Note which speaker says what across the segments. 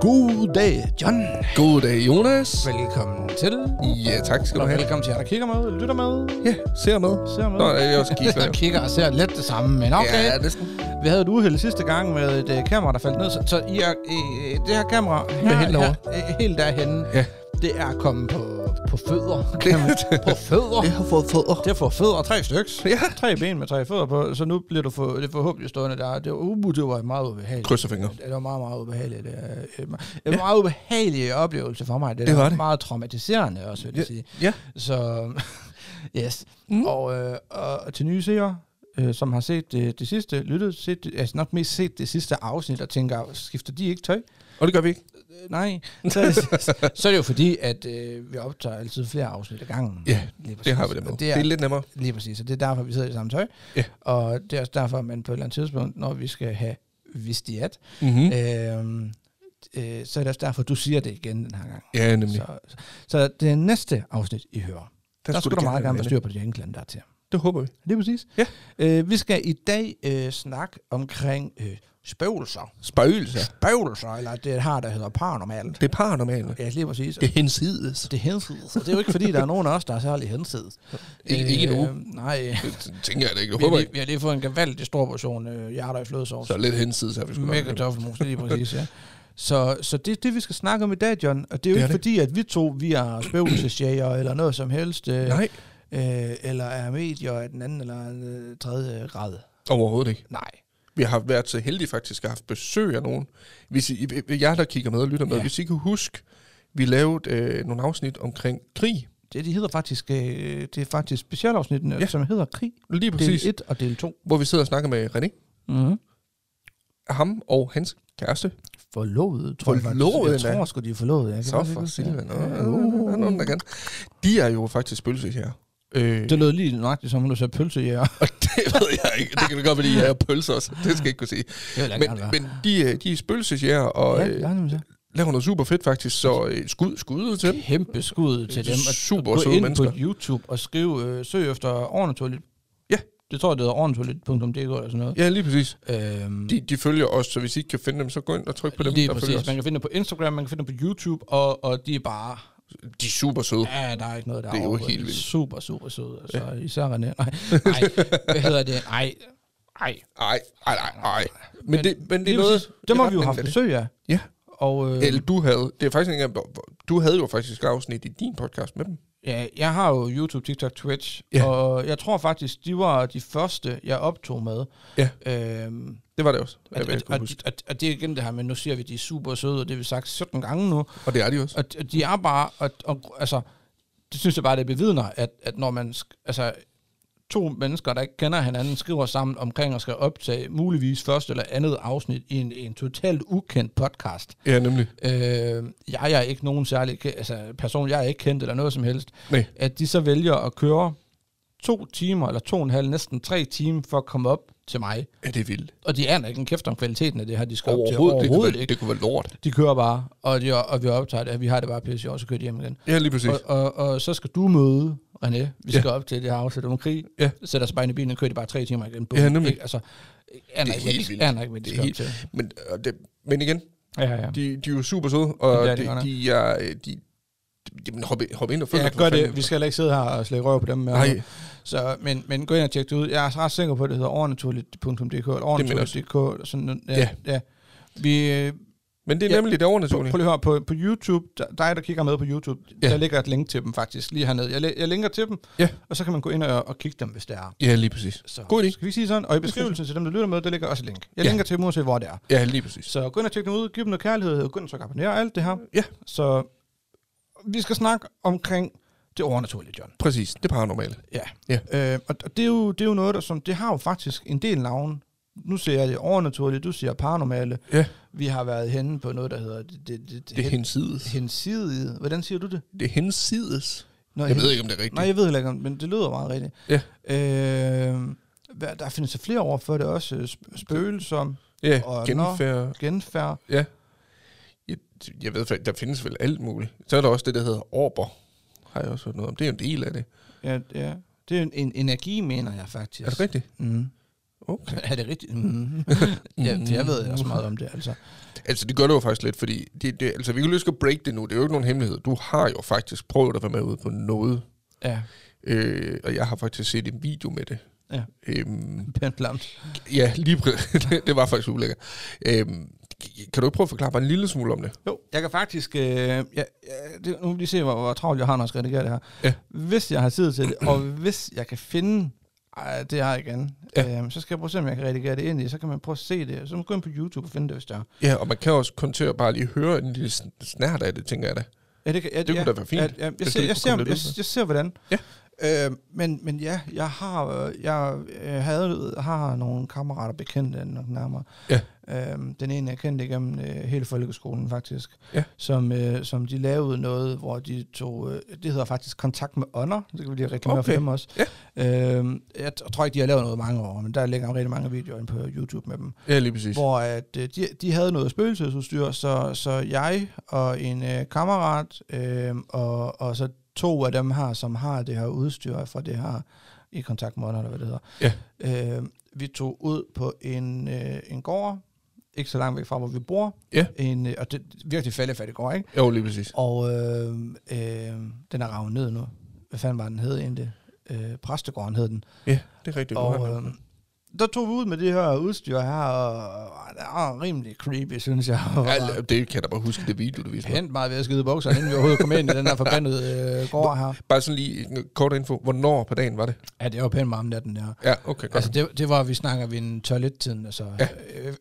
Speaker 1: God dag, John.
Speaker 2: God dag, Jonas.
Speaker 1: Velkommen til.
Speaker 2: Ja, tak skal du
Speaker 1: Og
Speaker 2: have.
Speaker 1: velkommen til jer, der kigger med, lytter med,
Speaker 2: Ja, ser med.
Speaker 1: ser med.
Speaker 2: Nå, jeg er også kigger.
Speaker 1: Jeg kigger og ser lidt det samme, men okay.
Speaker 2: Ja, næsten.
Speaker 1: Vi havde et uheld sidste gang med et uh, kamera, der faldt ned, så, så I er, uh, det her kamera her,
Speaker 2: helt
Speaker 1: her,
Speaker 2: over.
Speaker 1: uh, helt derhenne,
Speaker 2: Ja.
Speaker 1: det er kommet på, på fødder. Kan man, på fødder.
Speaker 2: Jeg har fået fødder.
Speaker 1: Det har fået fødder, tre styks.
Speaker 2: Ja.
Speaker 1: Tre ben med tre fødder på, så nu bliver du for, det er forhåbentlig stående der. Det var, uh, det var meget ubehageligt.
Speaker 2: Krydser fingre.
Speaker 1: Det var meget, meget ubehageligt. øh, øh, En meget ubehagelig oplevelse for mig. Det,
Speaker 2: Det var
Speaker 1: var
Speaker 2: det.
Speaker 1: meget traumatiserende også, vil jeg sige.
Speaker 2: Ja.
Speaker 1: Så, yes. Mm. Og, øh, og til nye seere, øh, som har set det, det sidste, lyttet, set, det- altså nok mest set det sidste afsnit, og tænker, skifter de ikke tøj?
Speaker 2: Og det gør vi ikke.
Speaker 1: Øh, nej. Så, så er det jo fordi, at øh, vi optager altid flere afsnit ad gangen.
Speaker 2: Ja,
Speaker 1: Lige præcis.
Speaker 2: Det har vi det med.
Speaker 1: Og
Speaker 2: Det er, lidt nemmere.
Speaker 1: Lige præcis, og det er derfor, vi sidder i det samme tøj.
Speaker 2: Ja.
Speaker 1: Og det er også derfor, at man på et eller andet tidspunkt, når vi skal have vistiat,
Speaker 2: Mm-hmm.
Speaker 1: øhm, øh, så er det også derfor, du siger det igen den her gang.
Speaker 2: Ja, nemlig.
Speaker 1: Så, så det næste afsnit, I hører, der, der skulle du meget gerne være styr på de enkelte der er til.
Speaker 2: Det håber vi.
Speaker 1: Lige præcis.
Speaker 2: Ja.
Speaker 1: Øh, vi skal i dag øh, snakke omkring øh, spøgelser.
Speaker 2: Spøgelser.
Speaker 1: Spøgelser, eller det har, der hedder paranormalt.
Speaker 2: Det er paranormale.
Speaker 1: Ja, lige præcis.
Speaker 2: Det er hensides.
Speaker 1: Det er hensides, og det er jo ikke, fordi der er nogen af os, der er særlig hensides. Øh,
Speaker 2: Ikke- ikke endnu.
Speaker 1: Nej,
Speaker 2: Det tænker jeg da ikke. Jeg
Speaker 1: Vi har,
Speaker 2: håber
Speaker 1: lige,
Speaker 2: ikke.
Speaker 1: vi har lige fået en gevaldig stor portion øh, hjerter i flødesovs.
Speaker 2: Så er lidt hensides her, vi skulle
Speaker 1: Mega toffelmos, lige præcis, ja. Så, så det er det, vi skal snakke om i dag, John. Og det er jo
Speaker 2: Det
Speaker 1: det
Speaker 2: er
Speaker 1: ikke
Speaker 2: det.
Speaker 1: fordi, at vi to vi er spøgelsesjæger eller noget som helst, øh,
Speaker 2: Nej,
Speaker 1: øh, eller er medier af den anden eller øh, tredje grad.
Speaker 2: overhovedet ikke.
Speaker 1: Nej.
Speaker 2: Vi har været så heldige faktisk at have haft besøg af nogen. Hvis I, jer, der kigger med og lytter med,
Speaker 1: Ja.
Speaker 2: ja. hvis I kan huske, vi lavede øh, nogle afsnit omkring krig.
Speaker 1: Det, de hedder faktisk, øh, det er faktisk specialafsnittene, ja.
Speaker 2: Ja.
Speaker 1: som hedder Krig,
Speaker 2: Lige præcis. Mhm.
Speaker 1: del 1 og del 2.
Speaker 2: Hvor vi sidder og snakker med René.
Speaker 1: Mm-hmm.
Speaker 2: ham og hans kæreste.
Speaker 1: Forlovet, tror
Speaker 2: Forlovet,
Speaker 1: jeg faktisk. Jeg
Speaker 2: da.
Speaker 1: tror sgu, de er forlovet. Jeg kan
Speaker 2: Så
Speaker 1: faktisk ikke
Speaker 2: for
Speaker 1: huske det.
Speaker 2: Silvan. Nå,
Speaker 1: Ja. Uh.
Speaker 2: nå, nå, nå, nå, der kan. De er jo faktisk spøgelser her. Øh,
Speaker 1: Det lød lige nøjagtigt, som om du sagde pølsejæger.
Speaker 2: og det ved jeg ikke. Det kan det godt være, fordi jeg er pølser også. Det skal jeg ikke kunne sige.
Speaker 1: Det vil jeg
Speaker 2: Men,
Speaker 1: gerne være.
Speaker 2: men de, øh, de er spøgelsesjæger og
Speaker 1: ja,
Speaker 2: øh,
Speaker 1: jeg er nemlig så.
Speaker 2: laver noget super fedt faktisk. Så øh, skud, skud til dem.
Speaker 1: kæmpe skud til dem. At
Speaker 2: Super
Speaker 1: gå
Speaker 2: søde
Speaker 1: ind
Speaker 2: mennesker.
Speaker 1: på YouTube og skrive, øh, søg efter ordentligt.
Speaker 2: Ja.
Speaker 1: Det tror jeg, det hedder ordentligt.dk eller sådan noget.
Speaker 2: Ja, lige præcis.
Speaker 1: Ja. Øhm,
Speaker 2: De, de følger os, så hvis I ikke kan finde dem, så gå ind og tryk på dem,
Speaker 1: lige
Speaker 2: der følger
Speaker 1: præcis.
Speaker 2: os.
Speaker 1: Man kan finde det på Instagram, man kan finde det på YouTube, og, og de er bare...
Speaker 2: De er super søde.
Speaker 1: Ja, der er ikke noget der
Speaker 2: Det er jo
Speaker 1: overhovedet.
Speaker 2: helt vildt.
Speaker 1: Super, super søde. Altså, ja. Især René. Nej, nej, hvad hedder det? Nej, nej.
Speaker 2: Ej, ej, ej, ej. Men,
Speaker 1: Men
Speaker 2: men, det, men det er
Speaker 1: Lige
Speaker 2: noget...
Speaker 1: præcis. Dem har
Speaker 2: i
Speaker 1: vi jo
Speaker 2: retning
Speaker 1: haft
Speaker 2: af det.
Speaker 1: besøg af.
Speaker 2: Ja.
Speaker 1: Og, øh,
Speaker 2: Eller du havde... Det er faktisk ikke engang... hvor- hvor- Du havde jo faktisk afsnit i din podcast med dem.
Speaker 1: Ja, jeg har jo YouTube, TikTok, Twitch, ja.
Speaker 2: Ja.
Speaker 1: og jeg tror faktisk, de var de første, jeg optog med.
Speaker 2: Ja.
Speaker 1: Øhm,
Speaker 2: Det var det også.
Speaker 1: Og,
Speaker 2: hvad jeg kunne
Speaker 1: og,
Speaker 2: huske.
Speaker 1: og, og det er igen det her med, nu siger vi, at de er super søde, og det har vi sagt 17 gange nu.
Speaker 2: Og det er de også.
Speaker 1: Og, og de er bare, og, og, altså, det synes jeg bare, det bevidner, at, at når man, sk- altså, to mennesker, der ikke kender hinanden, skriver sammen omkring og skal optage muligvis første eller andet afsnit i en, en totalt ukendt podcast.
Speaker 2: Ja, nemlig.
Speaker 1: Øh, jeg er ikke nogen særlig ke- altså, person, jeg er ikke kendt eller noget som helst.
Speaker 2: Nej.
Speaker 1: At de så vælger at køre to timer, eller to og en halv, næsten tre timer for at komme op til mig.
Speaker 2: Ja, det er vildt.
Speaker 1: Og de aner ikke en kæft om kvaliteten af det her, de skal op til.
Speaker 2: Overhovedet, det, kunne
Speaker 1: Overhovedet
Speaker 2: være,
Speaker 1: ikke.
Speaker 2: det kunne være lort.
Speaker 1: De kører bare, og, de, og vi optager det, at vi har det bare pisse i år, så kører de hjem igen.
Speaker 2: Ja, lige præcis.
Speaker 1: Og, og, og, så skal du møde René, vi
Speaker 2: Ja.
Speaker 1: skal op til det her afsæt om krig,
Speaker 2: Ja.
Speaker 1: sætter sig bare ind i bilen, og kører de bare tre timer igen. Bum.
Speaker 2: Ja, nemlig.
Speaker 1: Ikke? Altså, aner
Speaker 2: er
Speaker 1: ikke, hvad
Speaker 2: helt
Speaker 1: de-
Speaker 2: vildt.
Speaker 1: aner ikke, hvad
Speaker 2: Det
Speaker 1: de
Speaker 2: er
Speaker 1: skal op
Speaker 2: helt-
Speaker 1: til.
Speaker 2: Men, og det, men igen,
Speaker 1: Ja, ja, ja.
Speaker 2: de, de er jo super søde,
Speaker 1: Det
Speaker 2: og
Speaker 1: er
Speaker 2: de,
Speaker 1: de godt nok.
Speaker 2: de, er... øh, De, de, jamen, hop, i- hop ind og følg
Speaker 1: Ja,
Speaker 2: dem, for
Speaker 1: gør det.
Speaker 2: fanden.
Speaker 1: Vi skal heller ikke sidde her og slække røv på dem. Med
Speaker 2: Nej,
Speaker 1: Så, men, men gå ind og tjek det ud. Jeg er ret sikker på, at det hedder overnaturligt.dk eller overnaturligt.dk. Sådan, noget. ja,
Speaker 2: Ja.
Speaker 1: ja. Vi, øh,
Speaker 2: men det er
Speaker 1: Ja.
Speaker 2: nemlig det
Speaker 1: Prøv, prøv
Speaker 2: overnaturlige.
Speaker 1: lige at høre, på, på YouTube, der, dig der kigger med på YouTube, ja.
Speaker 2: Ja.
Speaker 1: der ligger et link til dem faktisk, lige hernede. Jeg, læ- jeg linker til dem,
Speaker 2: Ja.
Speaker 1: og så kan man gå ind og, og kigge dem, hvis det er.
Speaker 2: Ja, lige præcis.
Speaker 1: Så,
Speaker 2: God idé.
Speaker 1: Skal vi sige sådan? Og i beskrivelsen til dem, der lytter med, der ligger også et link. Jeg ja.
Speaker 2: Ja.
Speaker 1: linker til dem, uanset hvor det er.
Speaker 2: Ja, lige præcis.
Speaker 1: Så gå ind og tjek dem ud, giv dem noget kærlighed, gå ind og tryk abonner og alt det her.
Speaker 2: Ja.
Speaker 1: Så vi skal snakke omkring det overnaturlige, John.
Speaker 2: Præcis, det er paranormale.
Speaker 1: Ja.
Speaker 2: Ja.
Speaker 1: Øh, og og det er, jo, det er jo noget, der som, det har jo faktisk en del navne. Nu siger jeg det overnaturlige, du siger paranormale.
Speaker 2: Ja.
Speaker 1: Vi har været henne på noget, der hedder det, det, det,
Speaker 2: Det er hensides.
Speaker 1: hensidige. Hvordan siger du det?
Speaker 2: Det er hensides.
Speaker 1: Nå,
Speaker 2: Jeg ved ikke, om det er rigtigt.
Speaker 1: Nej, jeg ved heller ikke, om- men det lyder meget rigtigt.
Speaker 2: Ja.
Speaker 1: Øh, hvad- der findes så flere ord for det også. øh, sp- Spøgelser,
Speaker 2: Ja,
Speaker 1: Og
Speaker 2: genfærd.
Speaker 1: genfærd.
Speaker 2: Jeg, jeg ved faktisk, der findes vel alt muligt. Så er der også det, der hedder orber. Har jeg også hørt noget om. Det er jo en del af det.
Speaker 1: Ja, ja. Det er en, en energi, mener jeg faktisk.
Speaker 2: Er det rigtigt?
Speaker 1: Mm.
Speaker 2: Okay.
Speaker 1: er det rigtigt? Mm. ja, for jeg ved også meget om det, altså.
Speaker 2: Altså, det gør det jo faktisk lidt, fordi... Det, det, altså, vi kan jo lige skal break det nu. Det er jo ikke nogen hemmelighed. Du har jo faktisk prøvet at være med ude på noget.
Speaker 1: Ja,
Speaker 2: Øh, og jeg har faktisk set en video med det.
Speaker 1: Ja.
Speaker 2: Øhm,
Speaker 1: pænt lamt.
Speaker 2: ja, lige præ- det, det var faktisk ulækkert. Øhm, kan du ikke prøve at forklare bare en lille smule om det?
Speaker 1: Jo, jeg kan faktisk... Øh, jeg, jeg, det, nu vil lige se, hvor, hvor travlt jeg har, når jeg skal redigere det her.
Speaker 2: Ja.
Speaker 1: Hvis jeg har tid til det, og hvis jeg kan finde... Ej, det har jeg igen.
Speaker 2: Ja.
Speaker 1: Ja. Øhm, så skal jeg prøve at se, om jeg kan redigere det ind i. Så kan man prøve at se det. Så må man gå ind på YouTube og finde det, hvis der.
Speaker 2: Ja, og man kan også kun til at bare lige høre en lille sn- snært af det, tænker jeg da.
Speaker 1: Ja, det, kan, ja, det
Speaker 2: kunne
Speaker 1: ja,
Speaker 2: da være fint,
Speaker 1: Ja, ja, jeg,
Speaker 2: hvis
Speaker 1: ser,
Speaker 2: det
Speaker 1: jeg,
Speaker 2: kunne
Speaker 1: ser,
Speaker 2: komme
Speaker 1: jeg,
Speaker 2: lidt
Speaker 1: jeg,
Speaker 2: ud af.
Speaker 1: ser, hvordan.
Speaker 2: Ja.
Speaker 1: Øh, men, men ja, jeg har, øh, jeg øh, havde, har nogle kammerater bekendte, nok nærmere.
Speaker 2: Ja.
Speaker 1: Øh, den ene jeg kendte igennem øh, hele folkeskolen faktisk,
Speaker 2: Ja.
Speaker 1: som, øh, som de lavede noget, hvor de tog, øh, det hedder faktisk Kontakt med Ånder, det kan vi lige reklamere okay. for
Speaker 2: Okay.
Speaker 1: dem også. Ja. Øh, jeg t- tror ikke, de har lavet noget i mange år, men der ligger rigtig mange videoer inde på YouTube med dem
Speaker 2: Ja, lige præcis.
Speaker 1: hvor at, øh, de, de havde noget spøgelsesudstyr, så, så jeg og en øh, kammerat, øh, og, og så to af dem her, som har det her udstyr fra det her i kontaktmåneder, eller hvad det hedder. Ja. Øh, vi tog ud på en, øh, en gård, ikke så langt væk fra, hvor vi bor.
Speaker 2: Ja.
Speaker 1: En, øh, og det er virkelig fældefattig gård, ikke?
Speaker 2: Jo, lige præcis.
Speaker 1: Og øh, øh, den er ravet ned nu. Hvad fanden var den hed egentlig? Øh, præstegården hed den.
Speaker 2: Ja, det er rigtigt.
Speaker 1: Og
Speaker 2: godt.
Speaker 1: øh, der tog vi ud med det her udstyr her, og og det var rimelig creepy, synes jeg. Og
Speaker 2: Ja, Altså, det kan jeg da bare huske, det video, du viste mig.
Speaker 1: pænt meget ved at skide i bukserne, inden vi overhovedet kom ind i den her forbandede øh, gård her.
Speaker 2: Bare sådan lige en kort info. Hvornår på dagen var det?
Speaker 1: Ja, det var pænt meget om natten der.
Speaker 2: Ja, okay, godt.
Speaker 1: Altså, det, det var, vi snakker ved en toilettiden, altså ja,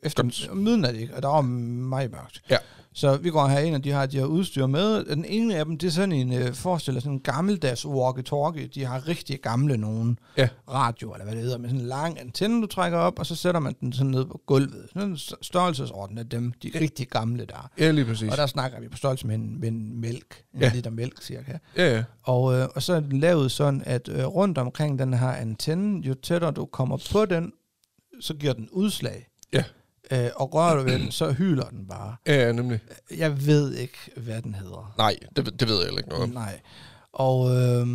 Speaker 1: efter
Speaker 2: godt.
Speaker 1: midnat, ikke? og der var meget mørkt.
Speaker 2: Ja.
Speaker 1: Så vi går herind, og de har de her udstyr med. Den ene af dem, det er sådan en, øh, forestiller sådan en gammeldags walkie-talkie. De har rigtig gamle nogen.
Speaker 2: Ja.
Speaker 1: Radio, eller hvad det hedder, med sådan en lang antenne, du trækker op, og så sætter man den sådan ned på gulvet. Sådan en st- størrelsesorden af dem, de rigtig gamle der.
Speaker 2: Ja, lige præcis.
Speaker 1: Og der snakker vi på størrelse med en, med en mælk, en
Speaker 2: Ja.
Speaker 1: ja. liter mælk cirka.
Speaker 2: Ja, ja.
Speaker 1: Og, øh, og så er den lavet sådan, at øh, rundt omkring den her antenne, jo tættere du kommer på den, så giver den udslag.
Speaker 2: Ja.
Speaker 1: Øh, og rører du ved den, så hyler den bare.
Speaker 2: Ja, ja, nemlig.
Speaker 1: Jeg ved ikke, hvad den hedder.
Speaker 2: Nej, det, ved- det ved jeg heller ikke noget om.
Speaker 1: Nej. Og øh,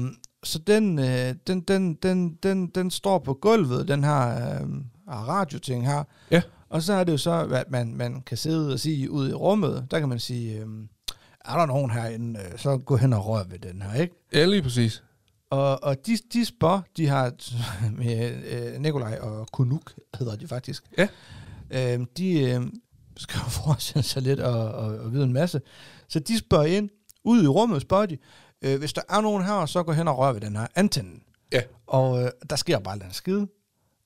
Speaker 1: så den, øh, den, den, den, den, den står på gulvet, den her øh, radioting her.
Speaker 2: Ja.
Speaker 1: Og så er det jo så, at man, man kan sidde og sige ud i rummet, der kan man sige, øh, er der nogen herinde, øh, så gå hen og rør ved den her, ikke?
Speaker 2: Ja, lige præcis.
Speaker 1: Og, og de, de spår, de har med øh, Nikolaj og Kunuk, hedder de faktisk.
Speaker 2: Ja.
Speaker 1: Øh, de øh, skal jo forestille sig lidt og, og, og vide en masse. Så de spørger ind, ud i rummet spørger de, øh, hvis der er nogen her, så gå hen og rør ved den her antenne.
Speaker 2: Ja.
Speaker 1: Og øh, der sker bare en skide.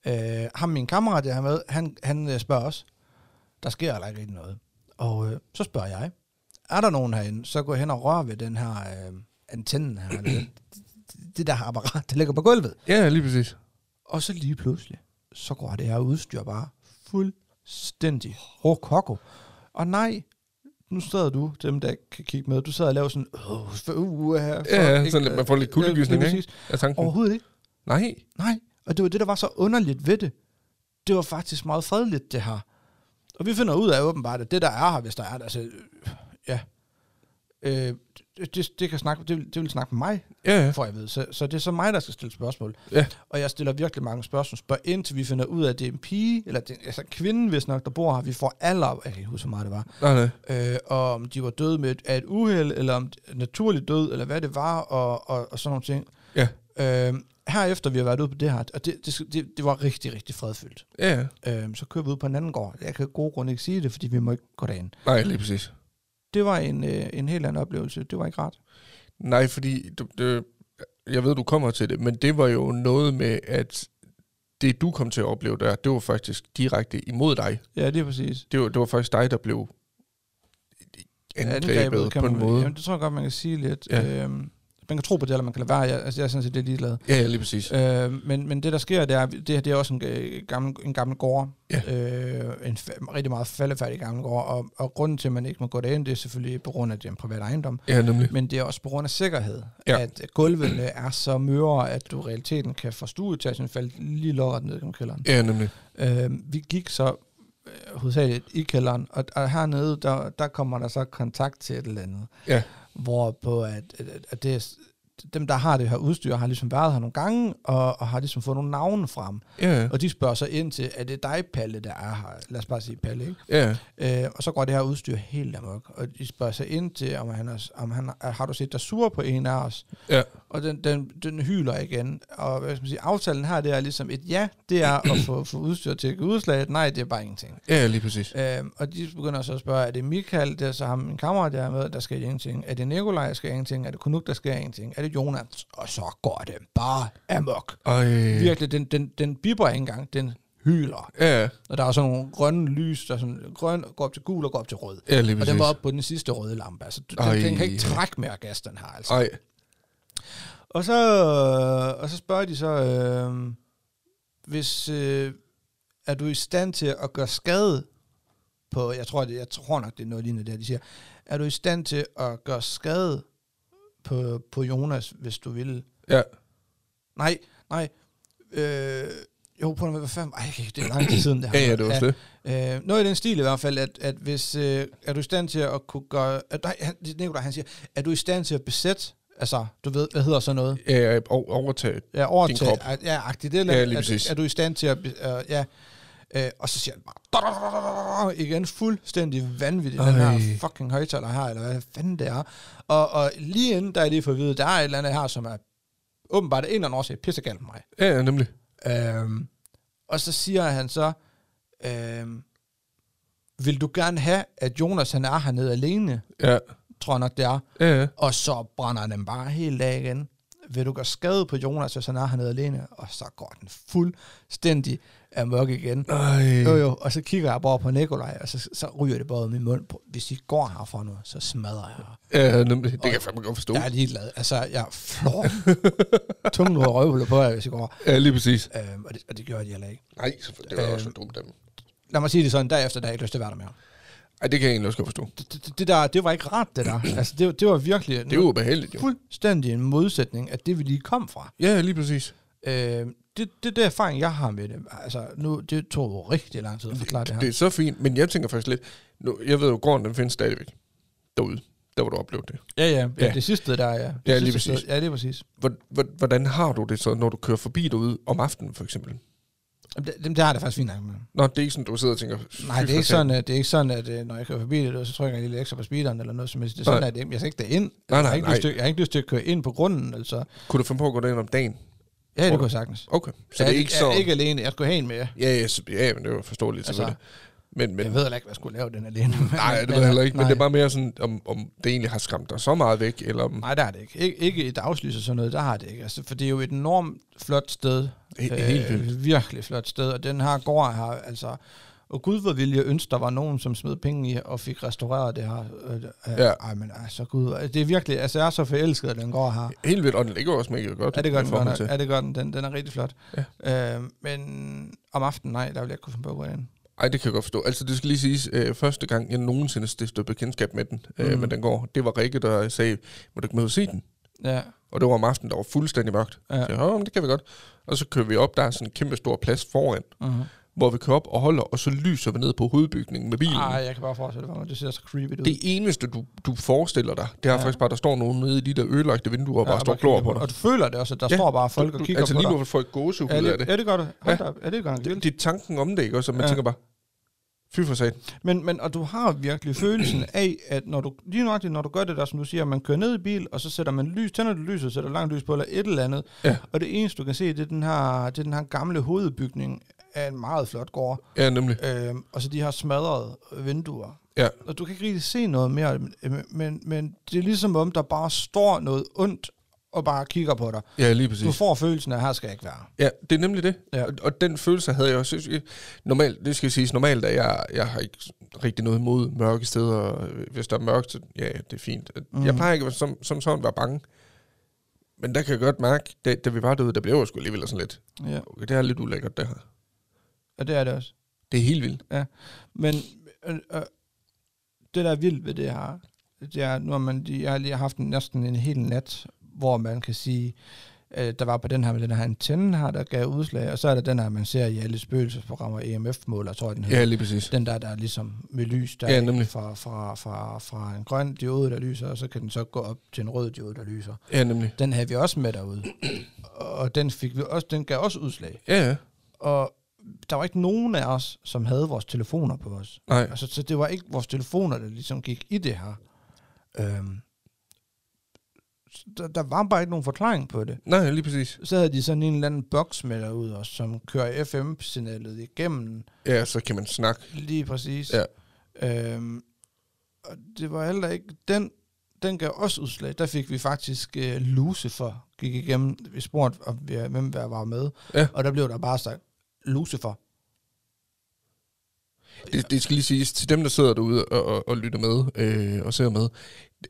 Speaker 1: Øh, ham, min kammerat, jeg har med, han, han øh, spørger også. Der sker heller ikke rigtig noget. Og øh, så spørger jeg, er der nogen herinde, så gå hen og rør ved den her øh, antenne her. eller den- det der apparat, der ligger på gulvet.
Speaker 2: Ja, lige præcis.
Speaker 1: Og så lige pludselig, så går det her udstyr bare fuldstændig rokoko. Og nej, nu sidder du, dem der ikke kan kigge med, du sidder og laver sådan, åh, for, uh, her, for,
Speaker 2: Ja, ja, sådan at man får lidt kuldegysning, ikke? Er tanken?
Speaker 1: Overhovedet ikke.
Speaker 2: Nej.
Speaker 1: Nej, og det var det, der var så underligt ved det. Det var faktisk meget fredeligt, det her. Og vi finder ud af åbenbart, at det, der er her, hvis der er der, altså, øh, ja, øh, det, det, det, kan snakke, det, vil, det vil snakke med mig,
Speaker 2: Ja, ja.
Speaker 1: får jeg ved. Så, så det er så mig, der skal stille spørgsmål.
Speaker 2: Ja.
Speaker 1: Og jeg stiller virkelig mange spørgsmål. Spørg indtil vi finder ud af, at det er en pige, eller det er, altså kvinden, hvis nok, der bor her. Vi får alder, jeg kan ikke huske, hvor meget det var.
Speaker 2: Nej, nej.
Speaker 1: Øh, og om de var døde med et, af et uheld, eller om naturligt død, eller hvad det var, og, og, og sådan nogle ting.
Speaker 2: Ja.
Speaker 1: Øh, herefter vi har været ude på det her, og det, det, det, det var rigtig, rigtig fredfyldt.
Speaker 2: Ja, ja.
Speaker 1: Øh, så kører vi ud på en anden gård. Jeg kan af gode grunde ikke sige det, fordi vi må ikke gå derind.
Speaker 2: Nej, lige præcis.
Speaker 1: Det var en, øh, en helt anden oplevelse. Det var ikke rart.
Speaker 2: Nej, fordi du, du, jeg ved, du kommer til det, men det var jo noget med, at det, du kom til at opleve der, det var faktisk direkte imod dig.
Speaker 1: Ja, det er præcis.
Speaker 2: Det var, det var faktisk dig, der blev angrebet, angrebet på en
Speaker 1: man,
Speaker 2: måde.
Speaker 1: Jamen, det tror jeg godt, man kan sige lidt.
Speaker 2: Ja.
Speaker 1: Ja. Øhm, man kan tro på det, eller man kan lade være. Jeg, altså, jeg er sådan set lidt ligeglad.
Speaker 2: Ja, ja, lige præcis.
Speaker 1: Øh, men, men det, der sker, det er, det her det er også en øh, gammel, en gammel gård.
Speaker 2: Ja.
Speaker 1: Øh, en fa- rigtig meget faldefærdig gammel gård. Og, og grunden til, at man ikke må gå derind, det er selvfølgelig på grund af, at det er en privat ejendom.
Speaker 2: Ja, nemlig.
Speaker 1: Men det er også på grund af sikkerhed,
Speaker 2: Ja.
Speaker 1: ja. at gulvene er så møre, at du i realiteten kan fra stueetagen falde lige lodret ned gennem kælderen.
Speaker 2: Ja, nemlig.
Speaker 1: Øh, vi gik så øh, hovedsageligt i kælderen, og, og hernede, der, der kommer der så kontakt til et eller andet.
Speaker 2: Ja.
Speaker 1: Hvor på at, at, at det, er s- dem, der har det her udstyr, har ligesom været her nogle gange, og, og har ligesom fået nogle navne frem.
Speaker 2: Ja,
Speaker 1: Og de spørger så ind til, er det dig, Palle, der er her? Lad os bare sige Palle, ikke?
Speaker 2: ja.
Speaker 1: Øh, og så går det her udstyr helt amok. Og de spørger sig ind til, om han, er, om han er, har du set dig sur på en af os?
Speaker 2: Ja.
Speaker 1: Og den, den, den hyler igen. Og hvad skal man sige, aftalen her, det er ligesom et ja, det er at få, få udstyr til at give udslag. Et Nej, det er bare ingenting.
Speaker 2: Ja, lige præcis.
Speaker 1: Øhm, og de begynder så at spørge, er det Michael, der så ham min kammerat, der er med, der skal ingenting? Er det Nikolaj, der skal ingenting? Er det Konuk, der skal ingenting? Er det Jonas? Og så går det bare amok.
Speaker 2: Og, øh,
Speaker 1: Virkelig, den, den, den biber ikke engang, den hyler.
Speaker 2: ja,
Speaker 1: Og der er sådan nogle grønne lys, der er sådan grøn, går op til gul og går op til rød.
Speaker 2: ja, lige
Speaker 1: Og
Speaker 2: præcis.
Speaker 1: den var oppe på den sidste røde lampe. Altså, den,
Speaker 2: Ej.
Speaker 1: den kan ikke trække mere gas, den har altså.
Speaker 2: Ej,
Speaker 1: Og så, og så spørger de så, øh, hvis øh, er du i stand til at gøre skade på, jeg tror, det, jeg tror nok, det er noget lignende der, de siger, er du i stand til at gøre skade på, på Jonas, hvis du vil?
Speaker 2: ja.
Speaker 1: Nej, nej. Øh, jo, på hvad fanden? Ej, det er lang tid siden, det her.
Speaker 2: Ja, ja, det var slet.
Speaker 1: Øh, noget i den stil i hvert fald, at, at hvis, øh, er du i stand til at kunne gøre... At, nej, han, Nicolaj, han siger, er du i stand til at besætte, altså, du ved, hvad hedder sådan noget?
Speaker 2: Ja, og overtage.
Speaker 1: Ja, overtage,
Speaker 2: Din krop.
Speaker 1: Ja, agtigt. Det er, altså,
Speaker 2: Ja, lige præcis.
Speaker 1: er, er, du i stand til at... Øh, ja, øh, og så siger han bare... Igen, fuldstændig vanvittig, den
Speaker 2: Ej.
Speaker 1: her fucking højtaler her, eller hvad fanden det er. Og, og lige inden, der er lige for at vide, der er et eller andet her, som er åbenbart af en eller anden årsag pissegalt med mig.
Speaker 2: Ja, ja, nemlig.
Speaker 1: Øhm, og så siger han så, øhm, vil du gerne have, at Jonas han er hernede alene,
Speaker 2: Ja,
Speaker 1: tror jeg nok det er,
Speaker 2: ja, ja.
Speaker 1: og så brænder den bare helt af igen. Vil du gøre skade på Jonas, hvis han er hernede alene? Og så går den fuldstændig amok igen.
Speaker 2: Ej.
Speaker 1: Jo jo, og så kigger jeg bare på Nikolaj, og så, så ryger det bare ud af min mund. Hvis I går herfra nu, så smadrer jeg jer.
Speaker 2: Ja, nemlig. Det kan jeg fandme godt forstå.
Speaker 1: Jeg er ligeglad. Altså, jeg flår tungen ud af røvhullet på jer, hvis I går.
Speaker 2: Ja, lige præcis.
Speaker 1: Øhm, og, det, og det gjorde de heller ikke.
Speaker 2: Nej, selvfølgelig. Det var
Speaker 1: Øh.
Speaker 2: også så dumt af dem.
Speaker 1: lad mig sige det sådan, derefter, der er ikke lyst til at være der mere.
Speaker 2: Ej, det kan jeg egentlig også godt forstå.
Speaker 1: Det, det, det, der, det var ikke rart, det der. Altså, det, det var virkelig
Speaker 2: Det er jo ubehageligt, jo.
Speaker 1: fuldstændig en modsætning af det, vi lige kom fra.
Speaker 2: Ja, lige præcis.
Speaker 1: Øh, det, det er det erfaring, jeg har med det. Altså, nu, det tog jo rigtig lang tid at forklare det her.
Speaker 2: Det er så fint, men jeg tænker faktisk lidt... Nu, jeg ved jo, gården den findes stadigvæk derude, der hvor du oplevede det.
Speaker 1: Ja, ja, ja,
Speaker 2: Ja.
Speaker 1: det sidste der, ja. Det
Speaker 2: Ja, lige
Speaker 1: sidste
Speaker 2: præcis.
Speaker 1: Sted, ja, det er præcis.
Speaker 2: Hvor- hvor- Hvordan har du det så, når du kører forbi derude om aftenen, for eksempel?
Speaker 1: Jamen, Det, dem der har det faktisk fint nok med.
Speaker 2: Nå, det er ikke sådan, du sidder og tænker... "Fy
Speaker 1: Nej, det er,
Speaker 2: for
Speaker 1: ikke sådan, at, det er ikke sådan, at øh, når jeg kører forbi det, så trykker jeg lige lidt ekstra på speederen eller noget som helst. Det er sådan,
Speaker 2: Nej.
Speaker 1: at øh, jeg skal ikke derind.
Speaker 2: Nej,
Speaker 1: jeg, har
Speaker 2: nej,
Speaker 1: ikke
Speaker 2: nej.
Speaker 1: lyst til, jeg har ikke lyst til at køre ind på grunden. Altså.
Speaker 2: satan." Kunne du finde på at gå derind om dagen?
Speaker 1: Ja, det
Speaker 2: du?
Speaker 1: kunne jeg sagtens.
Speaker 2: Okay, så
Speaker 1: jeg,
Speaker 2: det er ikke så...
Speaker 1: jeg, er ikke alene. Jeg skulle have en med.
Speaker 2: Ja, ja, så- ja, men det er jo forståeligt,
Speaker 1: Altså,
Speaker 2: selvfølgelig. Men, men,
Speaker 1: Jeg ved heller ikke, hvad jeg skulle lave den alene.
Speaker 2: nej, det ved jeg heller ikke, men det er bare mere sådan, om, om det egentlig har skræmt dig så meget væk, eller om...
Speaker 1: Nej, der er det ikke. Ik- ikke i dagslys og sådan noget, der har det ikke. Altså, for det er jo et enormt flot sted.
Speaker 2: He- helt vildt.
Speaker 1: Øh, Virkelig flot sted. Og den her gård her, altså... Og gud hvor ville jeg ønske, der var nogen, som smed penge i og fik restaureret det her. Øh, øh,
Speaker 2: Ja.
Speaker 1: Ej, men altså gud, hvor- det er virkelig, altså jeg er så forelsket, at den går her.
Speaker 2: Helt vildt, og den ligger også mega godt.
Speaker 1: Ja, det gør
Speaker 2: i
Speaker 1: den
Speaker 2: forhold
Speaker 1: godt nok.
Speaker 2: til-
Speaker 1: Ja, det gør den. Den, den er rigtig flot. Ja. Øh, men om aftenen, nej, der ville jeg ikke kunne finde på at gå ind.
Speaker 2: Ej, det kan jeg godt forstå. Altså, det skal lige siges, øh, første gang, jeg nogensinde stiftede bekendtskab med den, øh,
Speaker 1: Mm.
Speaker 2: mm. men den går, det var Rikke, der sagde, må du ikke med ud og se den?
Speaker 1: Ja,
Speaker 2: Og det var om aftenen, der var fuldstændig mørkt.
Speaker 1: Ja.
Speaker 2: Ja. Så, jeg, "Åh, men det kan vi godt. Og så kører vi op, der er sådan en kæmpe stor plads foran,
Speaker 1: uh-huh.
Speaker 2: hvor vi kører op og holder, og så lyser vi ned på hovedbygningen med bilen.
Speaker 1: Ej, jeg kan bare forestille mig, det ser så creepy ud.
Speaker 2: Det eneste, du, du forestiller dig, det er
Speaker 1: Ja.
Speaker 2: faktisk bare, der står nogen nede i de der ødelagte vinduer og bare står og
Speaker 1: kigger
Speaker 2: glor på dig.
Speaker 1: Og du føler det også, at der
Speaker 2: Ja,
Speaker 1: står bare folk
Speaker 2: Du-
Speaker 1: og
Speaker 2: du-
Speaker 1: kigger
Speaker 2: altså,
Speaker 1: på
Speaker 2: lige
Speaker 1: dig.
Speaker 2: nu får folk gåsehud
Speaker 1: Ja,
Speaker 2: af
Speaker 1: det,
Speaker 2: det.
Speaker 1: ja, det gør det. Hold
Speaker 2: Ja.
Speaker 1: da op. Ja, det gør det.
Speaker 2: Det, det er tanken om det, ikke også? Og man
Speaker 1: Ja.
Speaker 2: ja. tænker bare, fy for satan.
Speaker 1: Men, men, og du har virkelig følelsen af, at når du, lige nøjagtigt, når du gør det der, som du siger, man kører ned i bil, og så sætter man lys, tænder du lyset, sætter langt lys på, eller et eller andet.
Speaker 2: Ja.
Speaker 1: Og det eneste, du kan se, det er den her, det er den her gamle hovedbygning af en meget flot gård.
Speaker 2: Ja, nemlig.
Speaker 1: Øhm, og så de her smadrede vinduer.
Speaker 2: Ja.
Speaker 1: Og du kan ikke rigtig se noget mere, men, men, men det er ligesom om, der bare står noget ondt og bare kigger på dig.
Speaker 2: Ja, lige
Speaker 1: Du
Speaker 2: præcis.
Speaker 1: får følelsen af, her skal jeg ikke være.
Speaker 2: Ja, det er nemlig det.
Speaker 1: Ja.
Speaker 2: Ja. Og, og den følelse havde jeg også. Jeg- jeg- Normalt, det skal jeg siges, normalt er jeg, jeg har ikke rigtig noget imod mørke steder. og Hvis der er mørkt, så ja, det er fint.
Speaker 1: Mm.
Speaker 2: Mm. Jeg plejer ikke at- som, som sådan være bange. Men der kan jeg godt mærke, da, da vi var derude, der blev jeg sgu alligevel sådan lidt.
Speaker 1: Ja,
Speaker 2: Okay, det er lidt ulækkert, det her.
Speaker 1: og det er det også.
Speaker 2: Det er helt vildt.
Speaker 1: Men øh, øh, det, der er vildt ved det her, det er, nu har man, lige- jeg har lige haft en, næsten en hel nat, hvor man kan sige, øh, der var på den her med den her antenne her, der gav udslag, og så er der den her, man ser i alle spøgelsesprogrammer, E EMF-måler, tror jeg den hedder.
Speaker 2: Ja, lige præcis.
Speaker 1: Den der, der er ligesom med lys, der
Speaker 2: Ja,
Speaker 1: er
Speaker 2: nemlig.
Speaker 1: fra, fra, fra, fra en grøn diode, der lyser, og så kan den så gå op til en rød diode, der lyser.
Speaker 2: Ja, nemlig.
Speaker 1: Den havde vi også med derude, og den, fik vi også, den gav også udslag.
Speaker 2: Ja, ja.
Speaker 1: Og der var ikke nogen af os, som havde vores telefoner på os.
Speaker 2: Nej.
Speaker 1: Altså, så det var ikke vores telefoner, der ligesom gik i det her. Øhm, så der, der var bare ikke nogen forklaring på det.
Speaker 2: Nej, lige præcis.
Speaker 1: Så havde de sådan en eller anden boks med derude også, som kører FM-signalet igennem.
Speaker 2: Ja, så kan man snakke.
Speaker 1: Lige præcis.
Speaker 2: Ja.
Speaker 1: Øhm, og det var heller ikke... Den, den gav også udslag. Der fik vi faktisk øh, Lucifer gik igennem. Vi spurgte, om vi, hvem der var med.
Speaker 2: Ja.
Speaker 1: Og der blev der bare sagt, Lucifer.
Speaker 2: Det, det skal lige siges til dem, der sidder derude og, og, og lytter med øh, og ser med.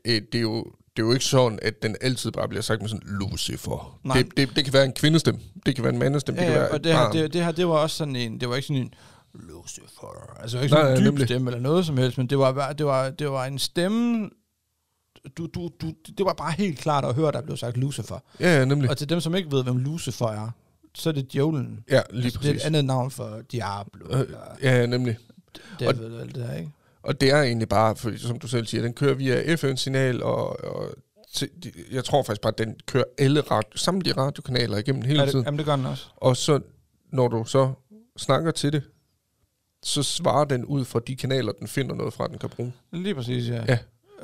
Speaker 2: Øh, det, er jo, det er jo ikke sådan, at den altid bare bliver sagt med sådan Lucifer.
Speaker 1: Nej.
Speaker 2: Det, det, det kan være en kvindestemme. Det kan være en mandestemme.
Speaker 1: Ja,
Speaker 2: det kan
Speaker 1: ja,
Speaker 2: være
Speaker 1: og
Speaker 2: et
Speaker 1: det her,
Speaker 2: barn.
Speaker 1: det, det her, det var også sådan en, det var ikke sådan en Lucifer, altså det var ikke
Speaker 2: Nej,
Speaker 1: sådan
Speaker 2: ja,
Speaker 1: en dyb
Speaker 2: nemlig.
Speaker 1: stemme eller noget som helst, men det var, bare- det var, det var en stemme, du, du, du, det var bare helt klart at høre, der blev sagt Lucifer.
Speaker 2: Ja, ja, nemlig.
Speaker 1: Og til dem, som ikke ved, hvem Lucifer er, så er det djævlen.
Speaker 2: Ja, lige
Speaker 1: altså, det er
Speaker 2: præcis.
Speaker 1: et andet navn for Diablo,
Speaker 2: Øh,
Speaker 1: eller
Speaker 2: Ja, nemlig.
Speaker 1: David, eller alt det der, ikke?
Speaker 2: Og det er egentlig bare, for, som du selv siger, den kører via FN-signal, og, og til, de- jeg tror faktisk bare, at den kører alle radio, samtlige radiokanaler igennem
Speaker 1: Er
Speaker 2: hele
Speaker 1: det,
Speaker 2: tiden.
Speaker 1: jamen, det gør den også.
Speaker 2: Og så, når du så snakker til det, så svarer den ud fra de kanaler, den finder noget fra, den kan bruge.
Speaker 1: Lige præcis, ja. Øh,
Speaker 2: Ja.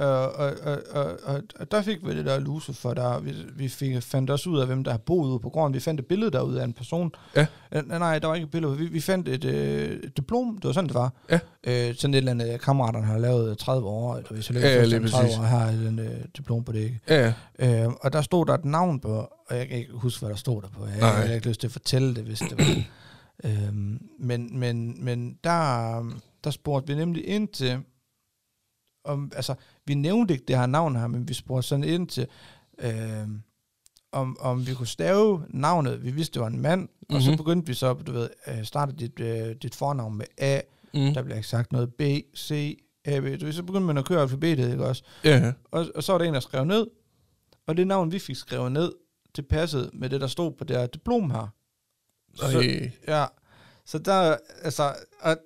Speaker 1: Og, og, og, og, og, og der fik vi det der Lucifer, der vi, vi fik, fandt også ud af, hvem der har boet ude på gården. Vi fandt et billede derude af en person.
Speaker 2: Ja.
Speaker 1: Øh, nej, nej, der var ikke et billede. Vi, vi fandt et, øh, et diplom, det var sådan, det var.
Speaker 2: Ja.
Speaker 1: Øh, sådan et eller andet, øh, kammeraterne har lavet 30 år, eller hvis jeg
Speaker 2: Ja,
Speaker 1: løber
Speaker 2: lige
Speaker 1: ja, 30
Speaker 2: præcis.
Speaker 1: år, har et øh, diplom på det ikke.
Speaker 2: Ja, ja.
Speaker 1: Øh, og der stod der et navn på, og jeg kan ikke huske, hvad der stod der på. Jeg,
Speaker 2: Nej.
Speaker 1: jeg havde ikke lyst til at fortælle det, hvis det var. øhm, men men, men der, øhm, der spurgte vi nemlig ind til, om, altså, vi nævnte ikke det her navn her, men vi spurgte sådan ind til, øhm, om, om vi kunne stave navnet. Vi vidste, det var en mand, mm-hmm. og så
Speaker 2: Mhm.
Speaker 1: begyndte vi så, du ved, øh, starte dit, øh, dit fornavn med A,
Speaker 2: Mm.
Speaker 1: der blev ikke sagt noget B, C, A, B. Du ved, så begyndte man at køre alfabetet, ikke også?
Speaker 2: ja, ja.
Speaker 1: Og, og så var der en, der skrev ned, og det navn, vi fik skrevet ned, det passede med det, der stod på det her diplom her. Så,
Speaker 2: Så,
Speaker 1: ja, så der, altså, at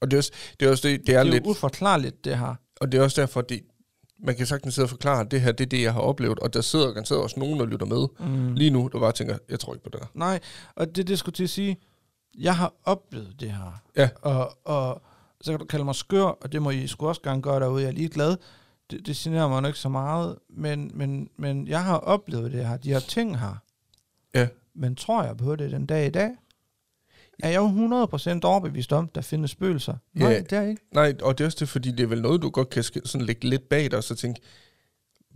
Speaker 2: og det er også det, er også det, det er
Speaker 1: det er
Speaker 2: lidt,
Speaker 1: jo uforklarligt, det her.
Speaker 2: og det er også derfor, det, man kan sagtens sidde og forklare, at det her, det er det, jeg har oplevet, og der sidder garanteret også nogen, der lytter med
Speaker 1: Mm.
Speaker 2: lige nu, der bare tænker, jeg tror ikke på det der.
Speaker 1: Nej, og det, det skulle til at sige, jeg har oplevet det her.
Speaker 2: Ja.
Speaker 1: Og, og så kan du kalde mig skør, og det må I sgu også gerne gøre derude, jeg er lige glad. Det, det generer mig nok ikke så meget, men, men, men jeg har oplevet det her, de her ting her.
Speaker 2: Ja.
Speaker 1: Men tror jeg på det den dag i dag? Er jeg jo 100% overbevist om, der findes spøgelser? Nej,
Speaker 2: Ja.
Speaker 1: det er jeg ikke.
Speaker 2: Nej, og det er også det, fordi det er vel noget, du godt kan sk- sådan lægge lidt bag dig, og så tænke,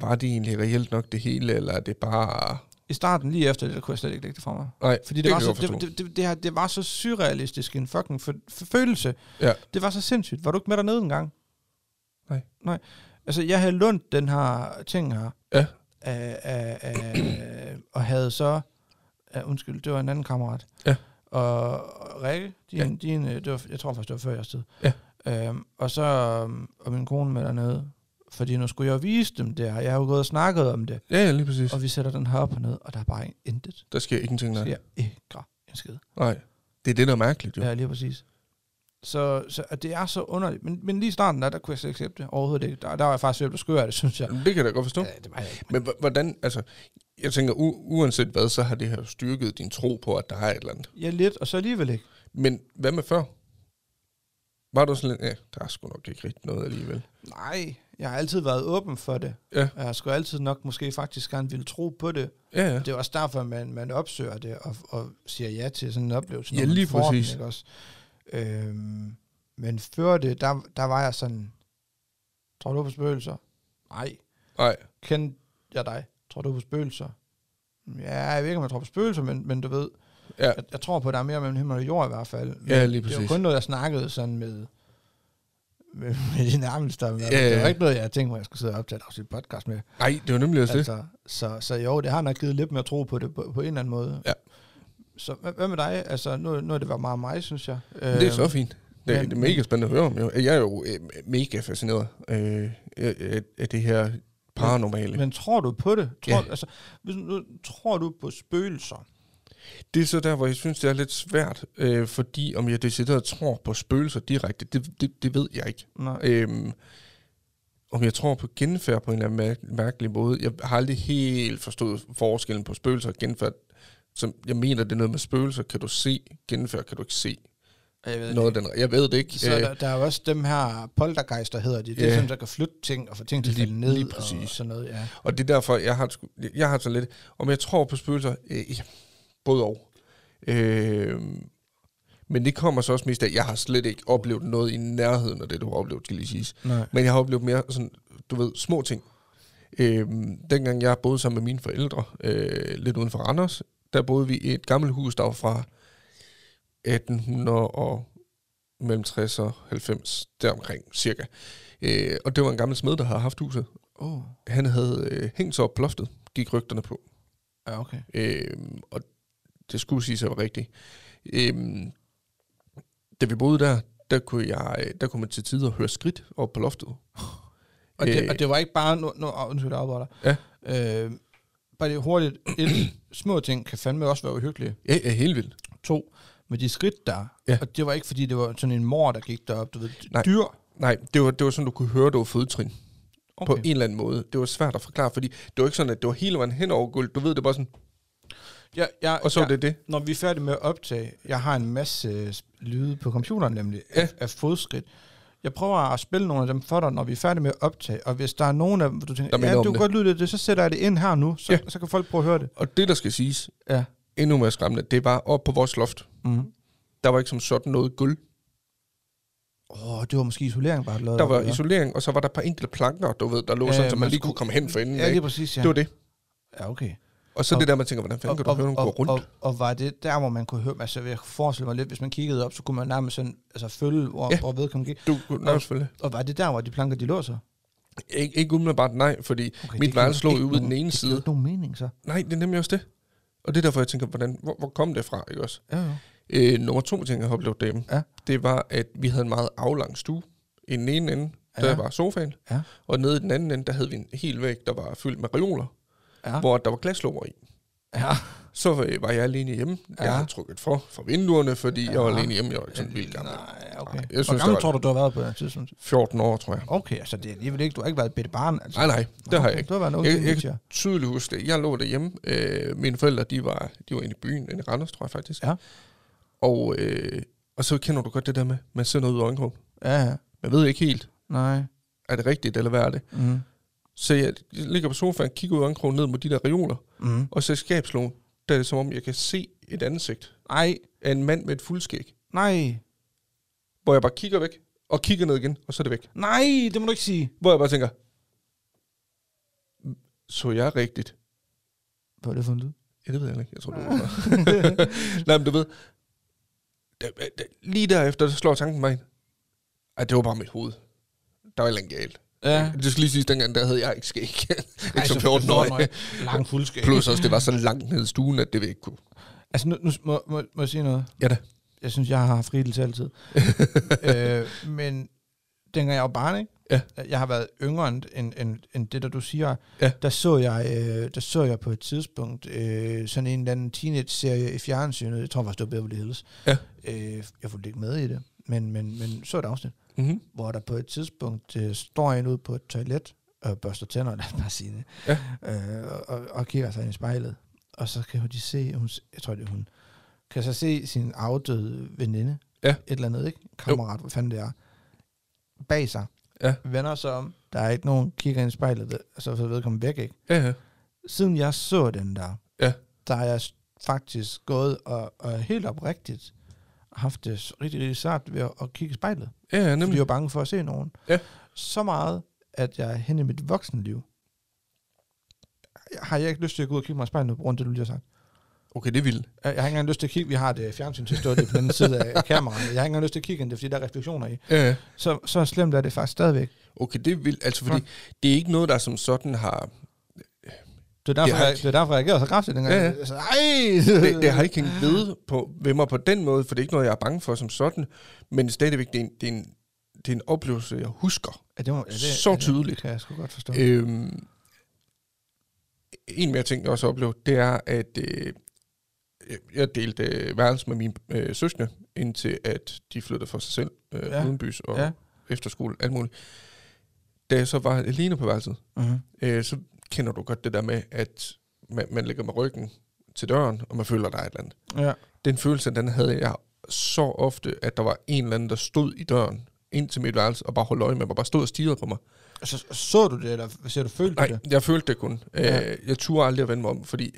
Speaker 2: var det egentlig reelt nok det hele, eller er det bare...
Speaker 1: I starten, lige efter det, der kunne jeg slet ikke lægge det fra mig.
Speaker 2: Nej,
Speaker 1: Fordi
Speaker 2: det
Speaker 1: det, det, var,
Speaker 2: kan jeg
Speaker 1: så,
Speaker 2: godt forstå.
Speaker 1: det, det, det, det, her, det var så surrealistisk en fucking for, for følelse.
Speaker 2: Ja.
Speaker 1: Det var så sindssygt. Var du ikke med dernede engang?
Speaker 2: Nej.
Speaker 1: Nej. Altså, jeg havde lånt den her ting her.
Speaker 2: Ja.
Speaker 1: Af, af, af, og havde så... Uh, undskyld, det var en anden kammerat.
Speaker 2: Ja.
Speaker 1: Og, og Rikke, din,
Speaker 2: Ja.
Speaker 1: ja. din, øh, det var, jeg tror faktisk, det var før jeres tid.
Speaker 2: Ja.
Speaker 1: Øhm, og så øhm, og min kone med dernede. Fordi nu skulle jeg jo vise dem det her. Jeg har jo gået og snakket om det.
Speaker 2: Ja, ja, lige præcis.
Speaker 1: Og vi sætter den her op og ned, og der er bare intet
Speaker 2: Der sker ingenting, nej.
Speaker 1: Nej. sker ikke en skid.
Speaker 2: Nej. Det er det, der er mærkeligt, jo. Ja.
Speaker 1: Ja, lige præcis. Så, så at det er så underligt. Men, men lige i starten, der, der kunne jeg slet ikke accepte det overhovedet ikke. Der, der var jeg faktisk ved at blive skør af det, synes jeg.
Speaker 2: Det kan jeg da godt forstå. Ja.
Speaker 1: Ja, det var jeg ikke.
Speaker 2: Men h- hvordan, altså, jeg tænker, u- uanset hvad, så har det her styrket din tro på, at der er et eller andet.
Speaker 1: Ja, lidt, og så alligevel ikke.
Speaker 2: Men hvad med før? Var du sådan lidt, ja, der er sgu nok ikke rigtig noget alligevel.
Speaker 1: Nej, jeg har altid været åben for det.
Speaker 2: Ja.
Speaker 1: Jeg har sgu altid nok måske faktisk gerne ville tro på det.
Speaker 2: Ja, ja.
Speaker 1: Det er også derfor, man, man opsøger det og, og siger ja til sådan en oplevelse. når
Speaker 2: Ja,
Speaker 1: man
Speaker 2: lige
Speaker 1: får den,
Speaker 2: præcis.
Speaker 1: ikke også? Øhm, men før det, der, der var jeg sådan, tror du på spøgelser? Nej.
Speaker 2: Nej.
Speaker 1: kendte jeg dig? Tror du på spøgelser? Ja, jeg ved ikke, om jeg tror på spøgelser, men, men du ved,
Speaker 2: Ja.
Speaker 1: jeg, jeg tror på, at der er mere mellem himmel og jord i hvert fald. Men
Speaker 2: Ja, lige
Speaker 1: det er jo
Speaker 2: præcis.
Speaker 1: kun noget, jeg snakkede sådan med, med, med de nærmeste. Men
Speaker 2: Ja,
Speaker 1: Det
Speaker 2: ja.
Speaker 1: var ikke noget, jeg tænkte, hvor jeg skulle sidde og optage et afsnit podcast med.
Speaker 2: Nej, det var nemlig også det.
Speaker 1: Altså, så, så jo, det har nok givet lidt mere tro på det på, på en eller anden måde.
Speaker 2: Ja.
Speaker 1: Så hvad, hvad med dig? Altså, nu, nu har det været meget mig, synes jeg.
Speaker 2: Det er så fint. Det er,
Speaker 1: øh, men-
Speaker 2: det er mega spændende at høre om. Jo. Jeg er jo øh, mega fascineret øh, af, af- af det her paranormale.
Speaker 1: Øhm, Men tror du på det? Tror,
Speaker 2: Ja.
Speaker 1: ja. altså, hvis, nu, tror du på spøgelser?
Speaker 2: Det er så der, hvor jeg synes, det er lidt svært, øh, fordi om jeg decideret tror på spøgelser direkte, det, det, det ved jeg ikke.
Speaker 1: Nej.
Speaker 2: Øhm, om jeg tror på genfærd på en eller anden mær- mærkelig måde. Jeg har aldrig helt forstået forskellen på spøgelser og genfærd. Som jeg mener, det er noget med spøgelser. Kan du se genfærd? Kan du ikke se?
Speaker 1: Jeg ved
Speaker 2: Noget af den, jeg ved det ikke.
Speaker 1: Så er der, der er jo også dem her poltergeister, hedder de. Det er
Speaker 2: Øh. Ja.
Speaker 1: yeah. sådan, der kan flytte ting og få ting til at
Speaker 2: Lige-
Speaker 1: falde ned
Speaker 2: lige
Speaker 1: og
Speaker 2: præcis.
Speaker 1: sådan noget. Ja.
Speaker 2: Og det er derfor, jeg har, sgu- jeg har sådan lidt... Om jeg tror på spøgelser? Øh, ja, både og. Øh, men det kommer så også mest af, at jeg har slet ikke oplevet noget i nærheden af det, du har oplevet, skal lige siges.
Speaker 1: Nej.
Speaker 2: Men jeg har oplevet mere sådan, du ved, små ting. Øh, dengang jeg boede sammen med mine forældre, øh, lidt uden for Randers, der boede vi i et gammelt hus, der var fra 1800 og mellem 60 og 90, deromkring cirka. Øh, og det var en gammel smed, der havde haft huset
Speaker 1: Oh.
Speaker 2: han havde øh, hængt sig op på loftet, gik rygterne på.
Speaker 1: Ja, okay.
Speaker 2: Øh, og det skulle sige sig var rigtigt. Øh, da vi boede der, der kunne, jeg, øh, der kunne man til tider høre skridt op på loftet.
Speaker 1: Og, det,
Speaker 2: Øh.
Speaker 1: og det var ikke bare... Nu, nu åh, undskyld, jeg afbryder dig.
Speaker 2: Ja.
Speaker 1: Øh, bare det hurtigt. Et, små ting kan fandme også være uhyggelige.
Speaker 2: Ja, ja helt vildt.
Speaker 1: To, med de skridt der.
Speaker 2: Ja.
Speaker 1: Og det var ikke, fordi det var sådan en mor, der gik derop. Du ved,
Speaker 2: Nej.
Speaker 1: dyr.
Speaker 2: Nej, det var, det var sådan, du kunne høre, det var fodtrin okay.
Speaker 1: Okay.
Speaker 2: på en eller anden måde. Det var svært at forklare, fordi det var ikke sådan, at det var hele vejen hen over gulvet. Du ved, det var sådan,
Speaker 1: ja, ja,
Speaker 2: og så
Speaker 1: ja.
Speaker 2: var det det.
Speaker 1: Når vi er færdige med at optage, jeg har en masse øh, sp- lyde på computeren nemlig,
Speaker 2: Ja.
Speaker 1: af, af fodskridt. Jeg prøver at spille nogle af dem for dig, når vi er færdige med at optage, og hvis der er nogen af dem, hvor du
Speaker 2: Der
Speaker 1: tænker,
Speaker 2: minder
Speaker 1: ja, du
Speaker 2: om
Speaker 1: kan
Speaker 2: det."
Speaker 1: godt lyde det, så sætter jeg det ind her nu, så, ja.
Speaker 2: Ja.
Speaker 1: så kan folk prøve at høre det.
Speaker 2: Og det, der skal siges,
Speaker 1: Ja.
Speaker 2: endnu mere skræmmende, det var op på vores loft.
Speaker 1: Mm.
Speaker 2: Der var ikke som sådan noget gulv.
Speaker 1: Åh, oh, det var måske isolering bare lavet.
Speaker 2: Der var
Speaker 1: eller?
Speaker 2: isolering, og så var der et par enkelte planker, du ved, der lå
Speaker 1: Ja,
Speaker 2: sådan, så
Speaker 1: man
Speaker 2: man lige
Speaker 1: skulle-
Speaker 2: kunne komme hen for enden.
Speaker 1: Ja,
Speaker 2: ikke?
Speaker 1: lige præcis, ja.
Speaker 2: Det var det.
Speaker 1: Ja, okay.
Speaker 2: Og så
Speaker 1: Og-
Speaker 2: det der, man tænker, hvordan fanden kan du høre, nogen gå rundt?
Speaker 1: Og, og, var det der, hvor man kunne høre, altså jeg forestiller mig lidt, hvis man kiggede op, så kunne man nærmest sådan, altså følge, hvor, ja.
Speaker 2: Ja.
Speaker 1: hvor vedkommende gik.
Speaker 2: Du, kunne- nej, selvfølgelig.
Speaker 1: Og var det der, hvor de planker, de lå så?
Speaker 2: Ikke, ikke umiddelbart nej, fordi okay, mit værelse lå jo ude i den ene
Speaker 1: Det giver
Speaker 2: side.
Speaker 1: ikke nogen mening, så.
Speaker 2: Nej, det er nemlig også det. Og det er derfor, jeg tænker, hvordan, hvor, hvor kom det fra, ikke også?
Speaker 1: Ja, ja.
Speaker 2: Øh, nummer to ting, jeg har oplevet derhjemme,
Speaker 1: Ja.
Speaker 2: det var, at vi havde en meget aflang stue. I den ene ende, der
Speaker 1: Ja.
Speaker 2: var sofaen,
Speaker 1: Ja.
Speaker 2: og nede i den anden ende, der havde vi en hel væg, der var fyldt med reoler,
Speaker 1: Ja.
Speaker 2: hvor der var glaslåger i.
Speaker 1: Ja.
Speaker 2: Så øh, var jeg alene hjemme. Ja.
Speaker 1: Ja.
Speaker 2: Jeg havde trukket for for vinduerne, fordi ja. jeg var alene hjemme. Jeg var ikke sådan vildt gammel.
Speaker 1: Nej, okay.
Speaker 2: Nej, jeg
Speaker 1: Jeg
Speaker 2: synes,
Speaker 1: synes,
Speaker 2: det
Speaker 1: Hvor gammel
Speaker 2: var-
Speaker 1: tror du, du har været på det her tidspunkt?
Speaker 2: 14 år, tror jeg.
Speaker 1: Okay, altså det er alligevel ikke, du har ikke været et bitte barn. Altså.
Speaker 2: Nej, nej, det har jeg ikke.
Speaker 1: Du har været en ung
Speaker 2: Jeg- jeg-
Speaker 1: teenager.
Speaker 2: tydeligt huske det. Jeg lå derhjemme. Øh, mine forældre, de var, de var inde i byen, inde i Randers, tror jeg faktisk.
Speaker 1: Ja.
Speaker 2: Og, øh, og så kender du godt det der med, man ser noget ud af øjenkrogen.
Speaker 1: Ja, ja.
Speaker 2: Man ved ikke helt,
Speaker 1: Nej.
Speaker 2: er det rigtigt, eller hvad er det?
Speaker 1: Mm.
Speaker 2: Så jeg ligger på sofaen, kigger ud af øjenkrogen ned mod de der reoler,
Speaker 1: Mm.
Speaker 2: og så i skabslågen, der er det som om, jeg kan se et ansigt
Speaker 1: Nej,
Speaker 2: af en mand med et fuldskæg,
Speaker 1: nej,
Speaker 2: hvor jeg bare kigger væk, og kigger ned igen, og så er det væk.
Speaker 1: nej, det må du ikke sige.
Speaker 2: Hvor jeg bare tænker, så jeg rigtigt?
Speaker 1: Hvad er det for en lyd?
Speaker 2: Ja, det ved jeg ikke. Jeg tror, det var Nej, men du ved, da, da, lige derefter, så slår tanken mig ind. Ej, det var bare mit hoved. Der var et eller andet galt.
Speaker 1: Ja.
Speaker 2: Det skal lige sige, dengang der havde jeg ikke skæg. ikke som
Speaker 1: så
Speaker 2: 14 år.
Speaker 1: Lang fuldskab.
Speaker 2: Plus også, det var så langt ned i stuen, at det vi ikke kunne.
Speaker 1: Altså, nu, nu må, må, må jeg sige noget?
Speaker 2: Ja da.
Speaker 1: Jeg synes, jeg har haft fritid altid. øh, men dengang jeg var barn, ikke?
Speaker 2: Ja.
Speaker 1: jeg har været yngre end, end, end, end det, der du siger,
Speaker 2: Ja.
Speaker 1: der, så jeg, øh, der så jeg på et tidspunkt øh, sådan en eller anden teenage-serie i fjernsynet. Jeg tror faktisk, det var Beverly Hills.
Speaker 2: Ja.
Speaker 1: Øh, jeg fulgte ikke med i det, men, men, men så et afsnit,
Speaker 2: Mm-hmm.
Speaker 1: hvor der på et tidspunkt øh, står en ud på et toilet og børster tænder, lad mig bare sige det,
Speaker 2: Ja.
Speaker 1: øh, og- og, og kigger sig ind i spejlet. Og så kan de se, hun, jeg tror, det er hun, kan så se sin afdøde veninde,
Speaker 2: Ja.
Speaker 1: et eller andet, ikke? Kammerat, hvad fanden det er, bag sig
Speaker 2: Ja.
Speaker 1: vender sig om. Der er ikke nogen, kigger ind i spejlet, ved- altså så vedkommende væk, ikke?
Speaker 2: Ja, ja.
Speaker 1: Siden jeg så den der,
Speaker 2: Ja.
Speaker 1: der er jeg s- faktisk gået og, og helt oprigtigt haft det s- rigtig, rigtig svært ved at, at kigge i spejlet.
Speaker 2: Ja, ja,
Speaker 1: Fordi
Speaker 2: nemlig.
Speaker 1: jeg var bange for at se nogen.
Speaker 2: Ja.
Speaker 1: Så meget, at jeg hen i mit voksenliv, har jeg ikke lyst til at gå ud og kigge mig i spejlet på grund af det, du lige har sagt.
Speaker 2: Okay, det er vildt.
Speaker 1: Jeg jeg har ikke engang lyst til at kigge. Vi har det fjernsyn til at stå det på den anden side af kameraet. Jeg har ikke engang lyst til at kigge ind, i det, fordi der er refleksioner i.
Speaker 2: Ja, ja.
Speaker 1: Så, så slemt er det faktisk stadigvæk.
Speaker 2: Okay, det er vildt. Altså, fordi det er ikke noget, der som sådan har...
Speaker 1: Det er derfor,
Speaker 2: Det har
Speaker 1: jeg,
Speaker 2: ikke-
Speaker 1: det er derfor jeg reagerede så kraftigt dengang.
Speaker 2: Ja, ja.
Speaker 1: Altså, ej!
Speaker 2: Det, det har ikke hængt ved, på, ved mig på den måde, for det er ikke noget, jeg er bange for som sådan. Men stadigvæk, det er en, det er en, det er en oplevelse, jeg husker.
Speaker 1: Ja, det, må, ja, det,
Speaker 2: Så
Speaker 1: ja, det-
Speaker 2: tydeligt.
Speaker 1: Det kan jeg sgu godt forstå.
Speaker 2: Øhm, en mere ting, jeg også oplevede, det er, at øh, jeg delte øh, værelse med mine øh, søskende, indtil at de flyttede for sig selv, øh,
Speaker 1: Ja.
Speaker 2: ja. udenbys og
Speaker 1: Ja.
Speaker 2: ja. efterskole, alt muligt. Da jeg så var alene på værelset,
Speaker 1: Mm-hmm.
Speaker 2: øh, så kender du godt det der med, at man, man ligger med ryggen til døren, og man føler, der er et eller andet.
Speaker 1: Ja.
Speaker 2: Den følelse, den havde jeg så ofte, at der var en eller anden, der stod i døren ind til mit værelse, og bare holdt øje med mig, bare stod og stirrede på mig.
Speaker 1: Så, så du det, eller ser du følte du
Speaker 2: Nej,
Speaker 1: det?
Speaker 2: jeg følte det kun.
Speaker 1: Ja.
Speaker 2: Ja. Jeg turde aldrig at vende mig om, fordi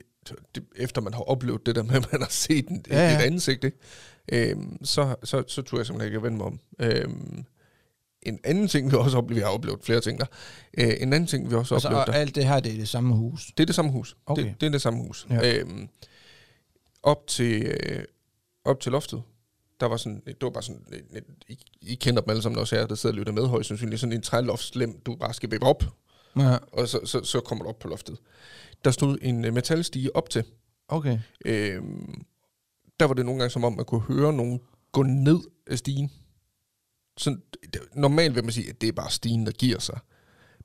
Speaker 2: det, efter man har oplevet det der med, at man har set en,
Speaker 1: Ja,
Speaker 2: ja,
Speaker 1: ja.
Speaker 2: ja. et ansigt, ikke? Øhm, så, så, så turde jeg simpelthen ikke at vende mig om. Øhm, en anden ting, vi også oplevede, vi har oplevet flere ting der. Øh, en anden ting, vi også
Speaker 1: Altså,
Speaker 2: oplevede der.
Speaker 1: og alt det her, det er i det samme hus.
Speaker 2: Det er det samme hus.
Speaker 1: Okay.
Speaker 2: Det, det er det samme hus.
Speaker 1: Ja.
Speaker 2: Ja. Øhm, op, til, øh, op til loftet, der var sådan, det var bare sådan, øh, I, I kender dem alle sammen også her, der sidder og lytter med højst sandsynligt, sådan en træloftslem, du bare skal vippe op,
Speaker 1: Ja.
Speaker 2: og så, så, så kommer du op på loftet. Der stod en øh, metalstige op til.
Speaker 1: Okay.
Speaker 2: Øhm, der var det nogle gange som om, man kunne høre nogen gå ned af stigen. Sådan, det, normalt vil man sige, at det er bare stigen, der giver sig.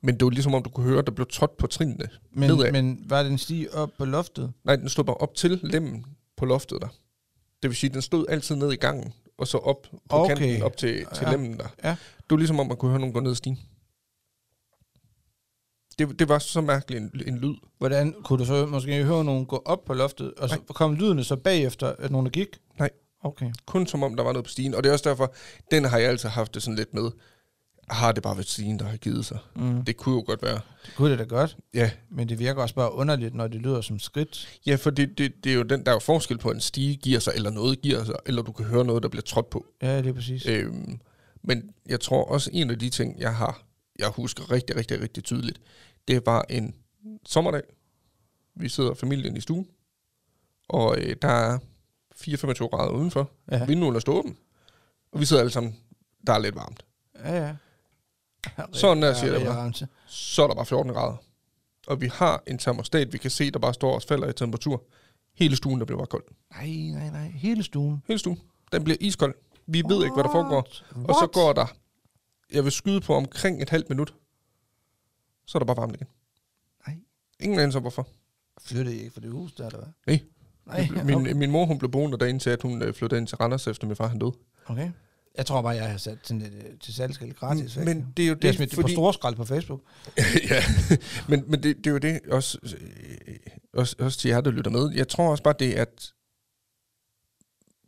Speaker 2: Men det var ligesom om, du kunne høre, at der blev trådt på trinene.
Speaker 1: Men,
Speaker 2: Nedad.
Speaker 1: men var den stige op på loftet?
Speaker 2: Nej, den stod bare op til lemmen på loftet der. Det vil sige, at den stod altid ned i gangen, og så op på
Speaker 1: Okay.
Speaker 2: okay. kanten, op til, til
Speaker 1: Ja.
Speaker 2: ja. lemmen der.
Speaker 1: Ja.
Speaker 2: Det var ligesom om, man kunne høre nogen gå ned ad stigen. Det, det var så mærkelig en, en lyd.
Speaker 1: Hvordan kunne du så måske høre nogen gå op på loftet, og så kom lydene så bagefter, at nogen der gik?
Speaker 2: Nej.
Speaker 1: Okay.
Speaker 2: Kun som om, der var noget på stigen. Og det er også derfor, den har jeg altid haft det sådan lidt med. Har det bare været stigen, der har givet sig?
Speaker 1: Mm.
Speaker 2: Det kunne jo godt være.
Speaker 1: Det kunne det da godt,
Speaker 2: Ja,
Speaker 1: men det virker også bare underligt, når det lyder som skridt.
Speaker 2: ja for det, det, det er jo den, der er jo forskel på, at en stige giver sig, eller noget giver sig, eller du kan høre noget, der bliver trådt på.
Speaker 1: Ja, det er præcis.
Speaker 2: Øhm, men jeg tror også, en af de ting, jeg har, jeg husker rigtig, rigtig, rigtig tydeligt, det var en sommerdag. Vi sidder familien i stuen, og øh, der er 4-25 grader udenfor.
Speaker 1: Ja,
Speaker 2: Ja. Vinduerne står åbne, og vi sidder alle sammen, der er lidt varmt.
Speaker 1: ja. ja.
Speaker 2: Sådan der, siger jeg bare.
Speaker 1: bare.
Speaker 2: Så er der bare 14 grader. Og vi har en termostat, vi kan se, der bare står og falder i temperatur. Hele stuen, der bliver bare kold.
Speaker 1: Nej, nej, nej. Hele stuen.
Speaker 2: Hele stuen. Den bliver iskold. Vi ved ikke, hvad der foregår.
Speaker 1: What?
Speaker 2: Og så går der, jeg vil skyde på omkring et halvt minut, så er der bare varmt igen.
Speaker 1: Nej.
Speaker 2: Ingen anelse om hvorfor.
Speaker 1: Flyttede I ikke fra det hus der, eller hvad?
Speaker 2: Nej.
Speaker 1: Nej,
Speaker 2: Min,
Speaker 1: okay.
Speaker 2: min mor hun blev boende derinde til, at hun øh, flyttede ind til Randers, efter min far han døde.
Speaker 1: okay. Jeg tror bare, jeg har sat sådan lidt øh, til salgskæld gratis.
Speaker 2: Men-
Speaker 1: ikke?
Speaker 2: men det er jo
Speaker 1: Jeg har
Speaker 2: det,
Speaker 1: smidt det på
Speaker 2: fordi-
Speaker 1: store skrald på Facebook.
Speaker 2: ja, men, men det, det er jo det, også, øh, også, også til jer, der lytter med. Jeg tror også bare, det er, at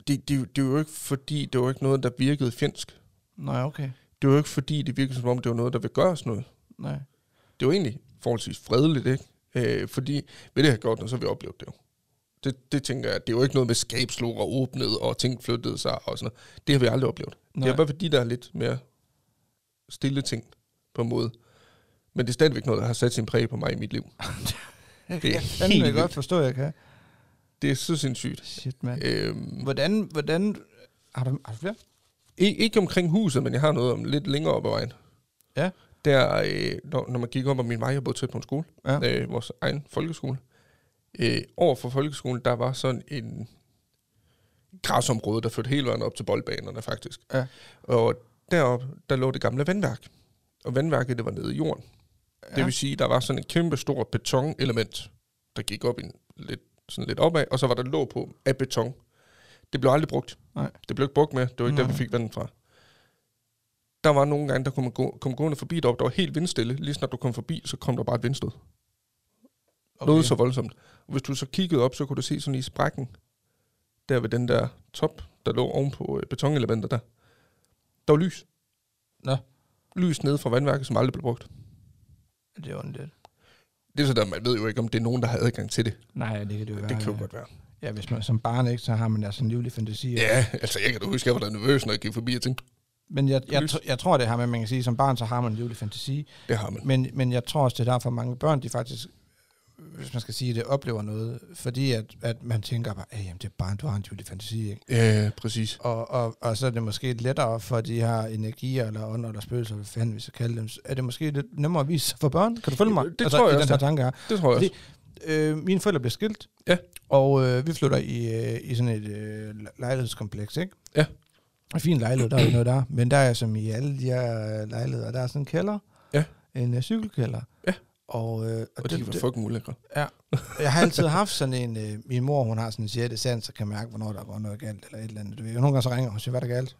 Speaker 2: det, det, det er jo ikke fordi, det var ikke noget, der virkede fjendsk.
Speaker 1: Nej, okay.
Speaker 2: Det var jo ikke fordi, det virkede som om, det var noget, der vil gøre os noget.
Speaker 1: Nej.
Speaker 2: det var egentlig forholdsvis fredeligt, ikke? Øh, fordi ved det have gjort noget, så har vi oplevet det jo. Det, det tænker jeg, det er jo ikke noget med skabslog og åbnet, og ting flyttede sig og sådan noget. Det har vi aldrig oplevet. Nej.
Speaker 1: Nej.
Speaker 2: Det er bare fordi, der er lidt mere stille ting på en måde. Men det er stadigvæk noget, der har sat sin præg på mig i mit liv.
Speaker 1: Jeg
Speaker 2: det er
Speaker 1: kan fandme
Speaker 2: helt
Speaker 1: godt
Speaker 2: vildt.
Speaker 1: forstå, jeg kan.
Speaker 2: Det er så sindssygt.
Speaker 1: Shit, mand.
Speaker 2: Øhm,
Speaker 1: Hvordan, hvordan... Har du, har du flere?
Speaker 2: ikke, ikke omkring huset, men jeg har noget om lidt længere op ad vejen.
Speaker 1: Ja.
Speaker 2: Der, øh, når, når man gik op ad min vej, jeg boede tæt på en skole,
Speaker 1: Ja.
Speaker 2: øh, vores egen folkeskole. Øh, over for folkeskolen, der var sådan en græsområde, der førte hele vejen op til boldbanerne faktisk.
Speaker 1: Ja.
Speaker 2: Og deroppe, der lå det gamle vandværk. Og vandværket, det var nede i jorden. Ja. Det vil sige, der var sådan et kæmpe stort betonelement, der gik op i en, lidt, sådan lidt opad, og så var der låg på af beton. Det blev aldrig brugt.
Speaker 1: Nej.
Speaker 2: Det blev ikke brugt med. Det var ikke Nej. der, vi
Speaker 1: Nej.
Speaker 2: fik vandet fra. Der var nogle gange, der kom, gå, kom gående forbi deroppe, der var helt vindstille. Lige snart du kom forbi, så kom der bare et vindstød. Okay. Noget så voldsomt. Og hvis du så kiggede op, så kunne du se sådan i sprækken, der ved den der top, der lå ovenpå øh, betonelementer der. Der var lys.
Speaker 1: Nå.
Speaker 2: Lys nede fra vandværket, som aldrig blev brugt.
Speaker 1: Det er ondt.
Speaker 2: Det er sådan, at man ved jo ikke, om det er nogen, der har adgang til det.
Speaker 1: Nej, det kan det jo være.
Speaker 2: det kan jo
Speaker 1: ja.
Speaker 2: godt være.
Speaker 1: Ja, hvis man som barn ikke, så har man da sådan en livlig fantasi.
Speaker 2: Ja, altså jeg kan da huske, at jeg var da nervøs, når jeg gik forbi og tænkte,
Speaker 1: Men jeg, jeg,
Speaker 2: Lys.
Speaker 1: tr- jeg tror, det her med, at man kan sige, som barn, så har man en livlig fantasi.
Speaker 2: det har man.
Speaker 1: Men, men jeg tror også, det er derfor mange børn, de faktisk, hvis man skal sige det, oplever noget. Fordi at, at man tænker bare, at jamen, det er barn, du har en livlig fantasi, ikke?
Speaker 2: Ja, præcis.
Speaker 1: Og, og, og så er det måske lettere for de her energier, eller ånder, eller spøgelser, hvad fanden vi skal kalde dem. Så Er det måske lidt nemmere at vise sig for børn? Kan du følge mig? Altså,
Speaker 2: Det tror jeg
Speaker 1: i
Speaker 2: også,
Speaker 1: den her tanke her.
Speaker 2: Det tror jeg
Speaker 1: Fordi-
Speaker 2: også.
Speaker 1: Øh, mine forældre blev skilt.
Speaker 2: Ja.
Speaker 1: Og øh, vi flytter i, øh, i sådan et øh, le- lejlighedskompleks, ikke?
Speaker 2: Ja.
Speaker 1: En fin lejlighed, der er jo ikke noget der. Men der er som i alle de her øh, lejligheder, der er sådan en kælder.
Speaker 2: Ja.
Speaker 1: En øh, cykelkælder.
Speaker 2: Ja.
Speaker 1: Og, øh,
Speaker 2: Og de kan være fucking ulækre.
Speaker 1: Ja. Jeg har altid haft sådan en, øh, min mor, hun har sådan en sjette sans, så kan mærke, hvornår der går noget galt, eller et eller andet. Du ved. Nogle gange så ringer hun og siger, hvad er der galt?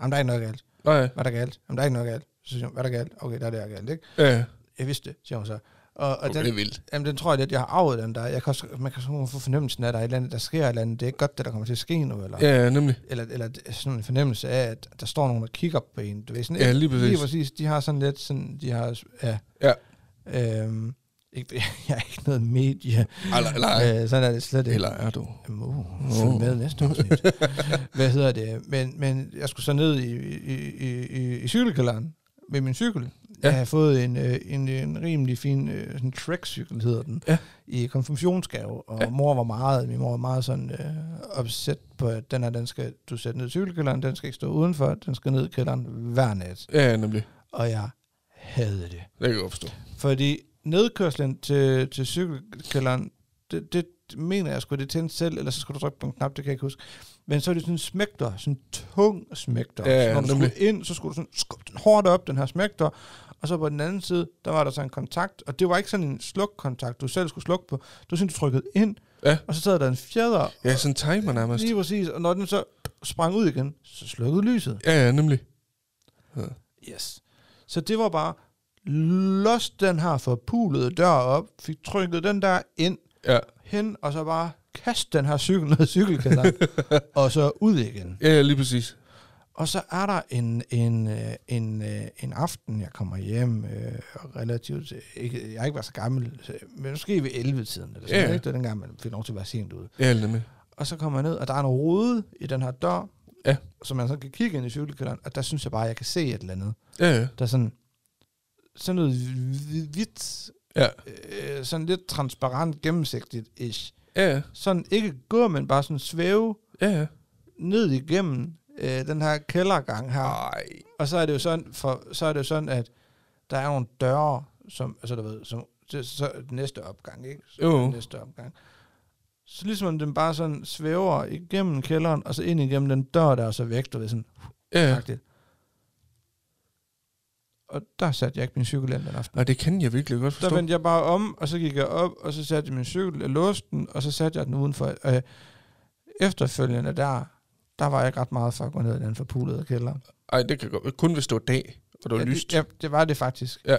Speaker 1: Jamen, der er ikke noget galt.
Speaker 2: Nå ja.
Speaker 1: Hvad er der galt? Jamen, der er ikke noget galt. Så siger hun, hvad er der galt? Okay, der er det, der er galt, ikke?
Speaker 2: Ja,
Speaker 1: Jeg vidste det, siger hun så. Og, og
Speaker 2: okay,
Speaker 1: den,
Speaker 2: det er vildt.
Speaker 1: jamen, den tror jeg lidt, jeg har arvet den der. Jeg kan også, man kan sådan få fornemmelsen af, at der er et eller andet, der sker et eller andet. Det er ikke godt, det der kommer til at ske nu, eller,
Speaker 2: Ja, ja, nemlig.
Speaker 1: eller, eller sådan en fornemmelse af, at der står nogen, der kigger på en. Du ved, sådan,
Speaker 2: Ja, lige præcis.
Speaker 1: Lige præcis. De har sådan lidt sådan, de har, ja.
Speaker 2: Ja.
Speaker 1: Øhm, ikke, jeg er ikke noget medie.
Speaker 2: Eller, eller,
Speaker 1: Øh, sådan er det slet ikke.
Speaker 2: eller er du?
Speaker 1: Jamen, Uh, følg med næste afsnit. Hvad hedder det? Men, men jeg skulle så ned i, i, i, i, i cykelkælderen med min cykel. Ja.
Speaker 2: Ja.
Speaker 1: Jeg har fået en, øh, en, en rimelig fin øh, sådan trackcykel, hedder den,
Speaker 2: Ja.
Speaker 1: i konfirmationsgave. Og ja. mor var meget, min mor var meget sådan øh, opsat på, at den her, den skal du sætte ned i cykelkælderen, den skal ikke stå udenfor, den skal ned i kælderen hver nat.
Speaker 2: Ja, nemlig.
Speaker 1: Og jeg havde det.
Speaker 2: Det kan jeg godt forstå.
Speaker 1: Fordi nedkørslen til, til cykelkælderen, det, det mener jeg skulle det tænde selv, eller så skulle du trykke på en knap, det kan jeg ikke huske. Men så er det sådan en smægter, sådan en tung smægter.
Speaker 2: Ja,
Speaker 1: så når du
Speaker 2: nemlig.
Speaker 1: skulle ind, så skulle du sådan skubbe den hårdt op, den her smægter. Og så på den anden side, der var der så en kontakt, og det var ikke sådan en slukkontakt, du selv skulle slukke på. Du sådan, du trykkede ind,
Speaker 2: Ja.
Speaker 1: og så sad der en fjeder,
Speaker 2: Ja, sådan en timer nærmest.
Speaker 1: lige præcis, og når den så sprang ud igen, så slukkede lyset.
Speaker 2: Ja, ja, nemlig.
Speaker 1: Yes. Så det var bare, lost den her forpulede dør op, fik trykket den der ind,
Speaker 2: Ja,
Speaker 1: hen, og så bare kast den her cykel ned i cykelkælderen, og så ud igen.
Speaker 2: ja, ja, lige præcis.
Speaker 1: Og så er der en, en, øh, en, øh, en aften, jeg kommer hjem øh, og relativt, ikke, jeg har ikke været så gammel, så, men måske ved 11-tiden, eller sådan
Speaker 2: Ja.
Speaker 1: yeah. ikke? Det er dengang, man fik lov til at være sent ude.
Speaker 2: Ja, nemlig.
Speaker 1: Og så kommer jeg ned, og der er en rode i den her dør,
Speaker 2: Ja.
Speaker 1: så man så kan kigge ind i cykelkælderen, og der synes jeg bare, at jeg kan se et eller andet.
Speaker 2: Ja, ja.
Speaker 1: der er sådan, sådan noget hvi- hvidt,
Speaker 2: Ja,
Speaker 1: øh, sådan lidt transparent, gennemsigtigt ish.
Speaker 2: ja, ja.
Speaker 1: Sådan ikke gå, men bare sådan svæve
Speaker 2: ja, ja.
Speaker 1: ned igennem øh, den her kældergang her.
Speaker 2: Ej.
Speaker 1: Og så er det jo sådan, for, så er det jo sådan at der er nogle døre, som, altså du ved, som, det, så er det næste opgang, ikke? Så
Speaker 2: Jo.
Speaker 1: er det næste opgang. Så ligesom om den bare sådan svæver igennem kælderen, og så ind igennem den dør, der er så væk, du ved, sådan,
Speaker 2: Ja, ja.
Speaker 1: ja. Og der satte jeg ikke min cykel ind den aften.
Speaker 2: Ej, det kan jeg virkelig godt
Speaker 1: Der
Speaker 2: forstå.
Speaker 1: vendte jeg bare om, og så gik jeg op, og så satte jeg min cykel, jeg låste den, og så satte jeg den udenfor. Øh, efterfølgende der, der var jeg ikke ret meget for at gå ned i den forpulede kælder.
Speaker 2: Ej, det kan godt. Kun hvis det var dag, og det var
Speaker 1: Ja,
Speaker 2: lyst.
Speaker 1: det, ja, det var det faktisk.
Speaker 2: Ja.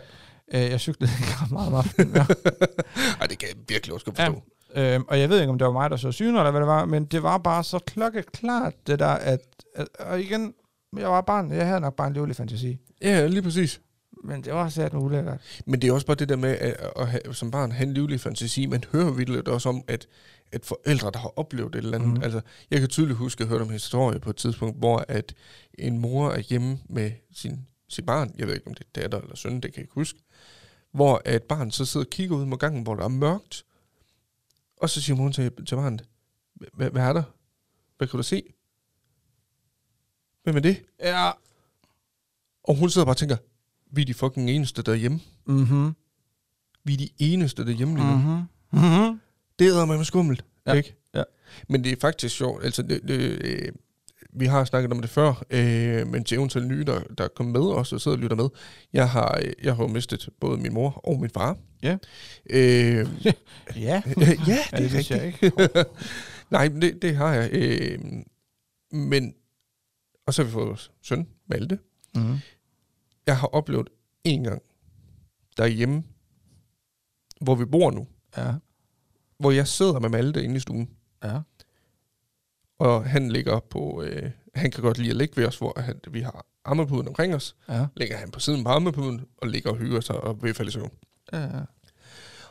Speaker 1: Øh, jeg cyklede ikke ret meget om aftenen. Ja.
Speaker 2: Ej, det kan jeg virkelig også godt
Speaker 1: Ja.
Speaker 2: forstå.
Speaker 1: øhm, og jeg ved ikke, om det var mig, der så syner, eller hvad det var, men det var bare så klokkeklart, det der, at, at og igen, jeg var barn, jeg havde nok bare en livlig fantasi.
Speaker 2: Ja, ja, lige præcis.
Speaker 1: Men det var sat med ulækkert.
Speaker 2: Men det er også bare det der med at, at have, som barn have en livlig fantasi. Man hører vildt også om, at, at forældre, der har oplevet et eller andet.
Speaker 1: Mhm.
Speaker 2: Mm. Altså, jeg kan tydeligt huske, at jeg hørte om en historie på et tidspunkt, hvor at en mor er hjemme med sin, sit barn. Jeg ved ikke, om det er datter eller søn, det kan jeg ikke huske. Hvor at barnet så sidder og kigger ud mod gangen, hvor der er mørkt. Og så siger moren til, til barnet, "Hva- hvad er der? Hvad kan du se? Hvem er det?
Speaker 1: Ja.
Speaker 2: Og hun sidder bare og tænker, vi er de fucking eneste derhjemme.
Speaker 1: Mhm.
Speaker 2: Vi er de eneste derhjemme lige nu.
Speaker 1: Mhm. Mhm.
Speaker 2: Det er med skummelt,
Speaker 1: Ja,
Speaker 2: ikke?
Speaker 1: ja.
Speaker 2: Men det er faktisk sjovt. Altså, det, det, øh, vi har snakket om det før, øh, men til eventuelt nye, der, der kom med os og sidder og lytter med. Jeg har, øh, jeg har jo mistet både min mor og min far.
Speaker 1: Ja.
Speaker 2: Øh,
Speaker 1: Ja.
Speaker 2: ja, det er
Speaker 1: Ja, det vidste
Speaker 2: rigtigt.
Speaker 1: jeg ikke.
Speaker 2: Nej, men det, det har jeg. Øh, men, og så har vi fået vores søn, Malte.
Speaker 1: Mhm.
Speaker 2: Jeg har oplevet en gang derhjemme, hvor vi bor nu,
Speaker 1: Ja.
Speaker 2: hvor jeg sidder med Malte inde i stuen.
Speaker 1: Ja.
Speaker 2: Og han ligger på... Øh, han kan godt lide at ligge ved os, hvor han, vi har ammepuden omkring os.
Speaker 1: Ja.
Speaker 2: Ligger han på siden på ammepuden, og ligger og hygger sig og vil falde i søvn.
Speaker 1: Ja.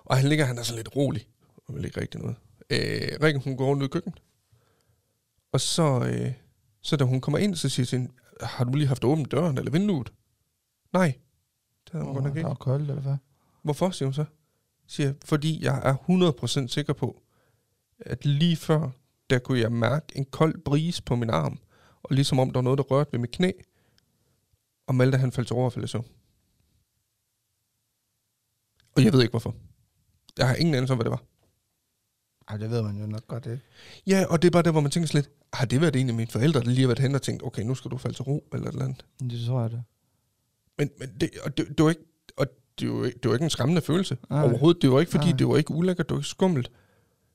Speaker 2: Og han ligger, han er sådan lidt rolig. Og vil ikke rigtig noget. Øh, Rikke, hun går ned i køkkenet. Og så, øh, så da hun kommer ind, så siger jeg til hende, har du lige haft åbent døren eller vinduet? Nej. Det havde hun godt nok
Speaker 1: Det
Speaker 2: ikke.
Speaker 1: var koldt, eller hvad?
Speaker 2: Hvorfor, siger hun så? Siger, jeg, fordi jeg er 100% sikker på, at lige før, der kunne jeg mærke en kold bris på min arm, og ligesom om der var noget, der rørte ved mit knæ, og Malte han faldt til overfald så. Og jeg ved ikke hvorfor. Jeg har ingen anelse om, hvad det var.
Speaker 1: Ej, det ved man jo nok godt, ikke?
Speaker 2: Ja, og det er bare der, hvor man tænker sådan lidt, har det været en af mine forældre, der lige har været hen og tænkt, okay, nu skal du falde til ro, eller et eller andet.
Speaker 1: Det tror jeg det.
Speaker 2: Men, men det, og det, det var ikke, og det, var, ikke- det var ikke en skræmmende følelse
Speaker 1: Nej.
Speaker 2: Nej. overhovedet. Det var ikke, fordi
Speaker 1: Nej.
Speaker 2: Nej. det var ikke ulækkert, det var ikke skummelt.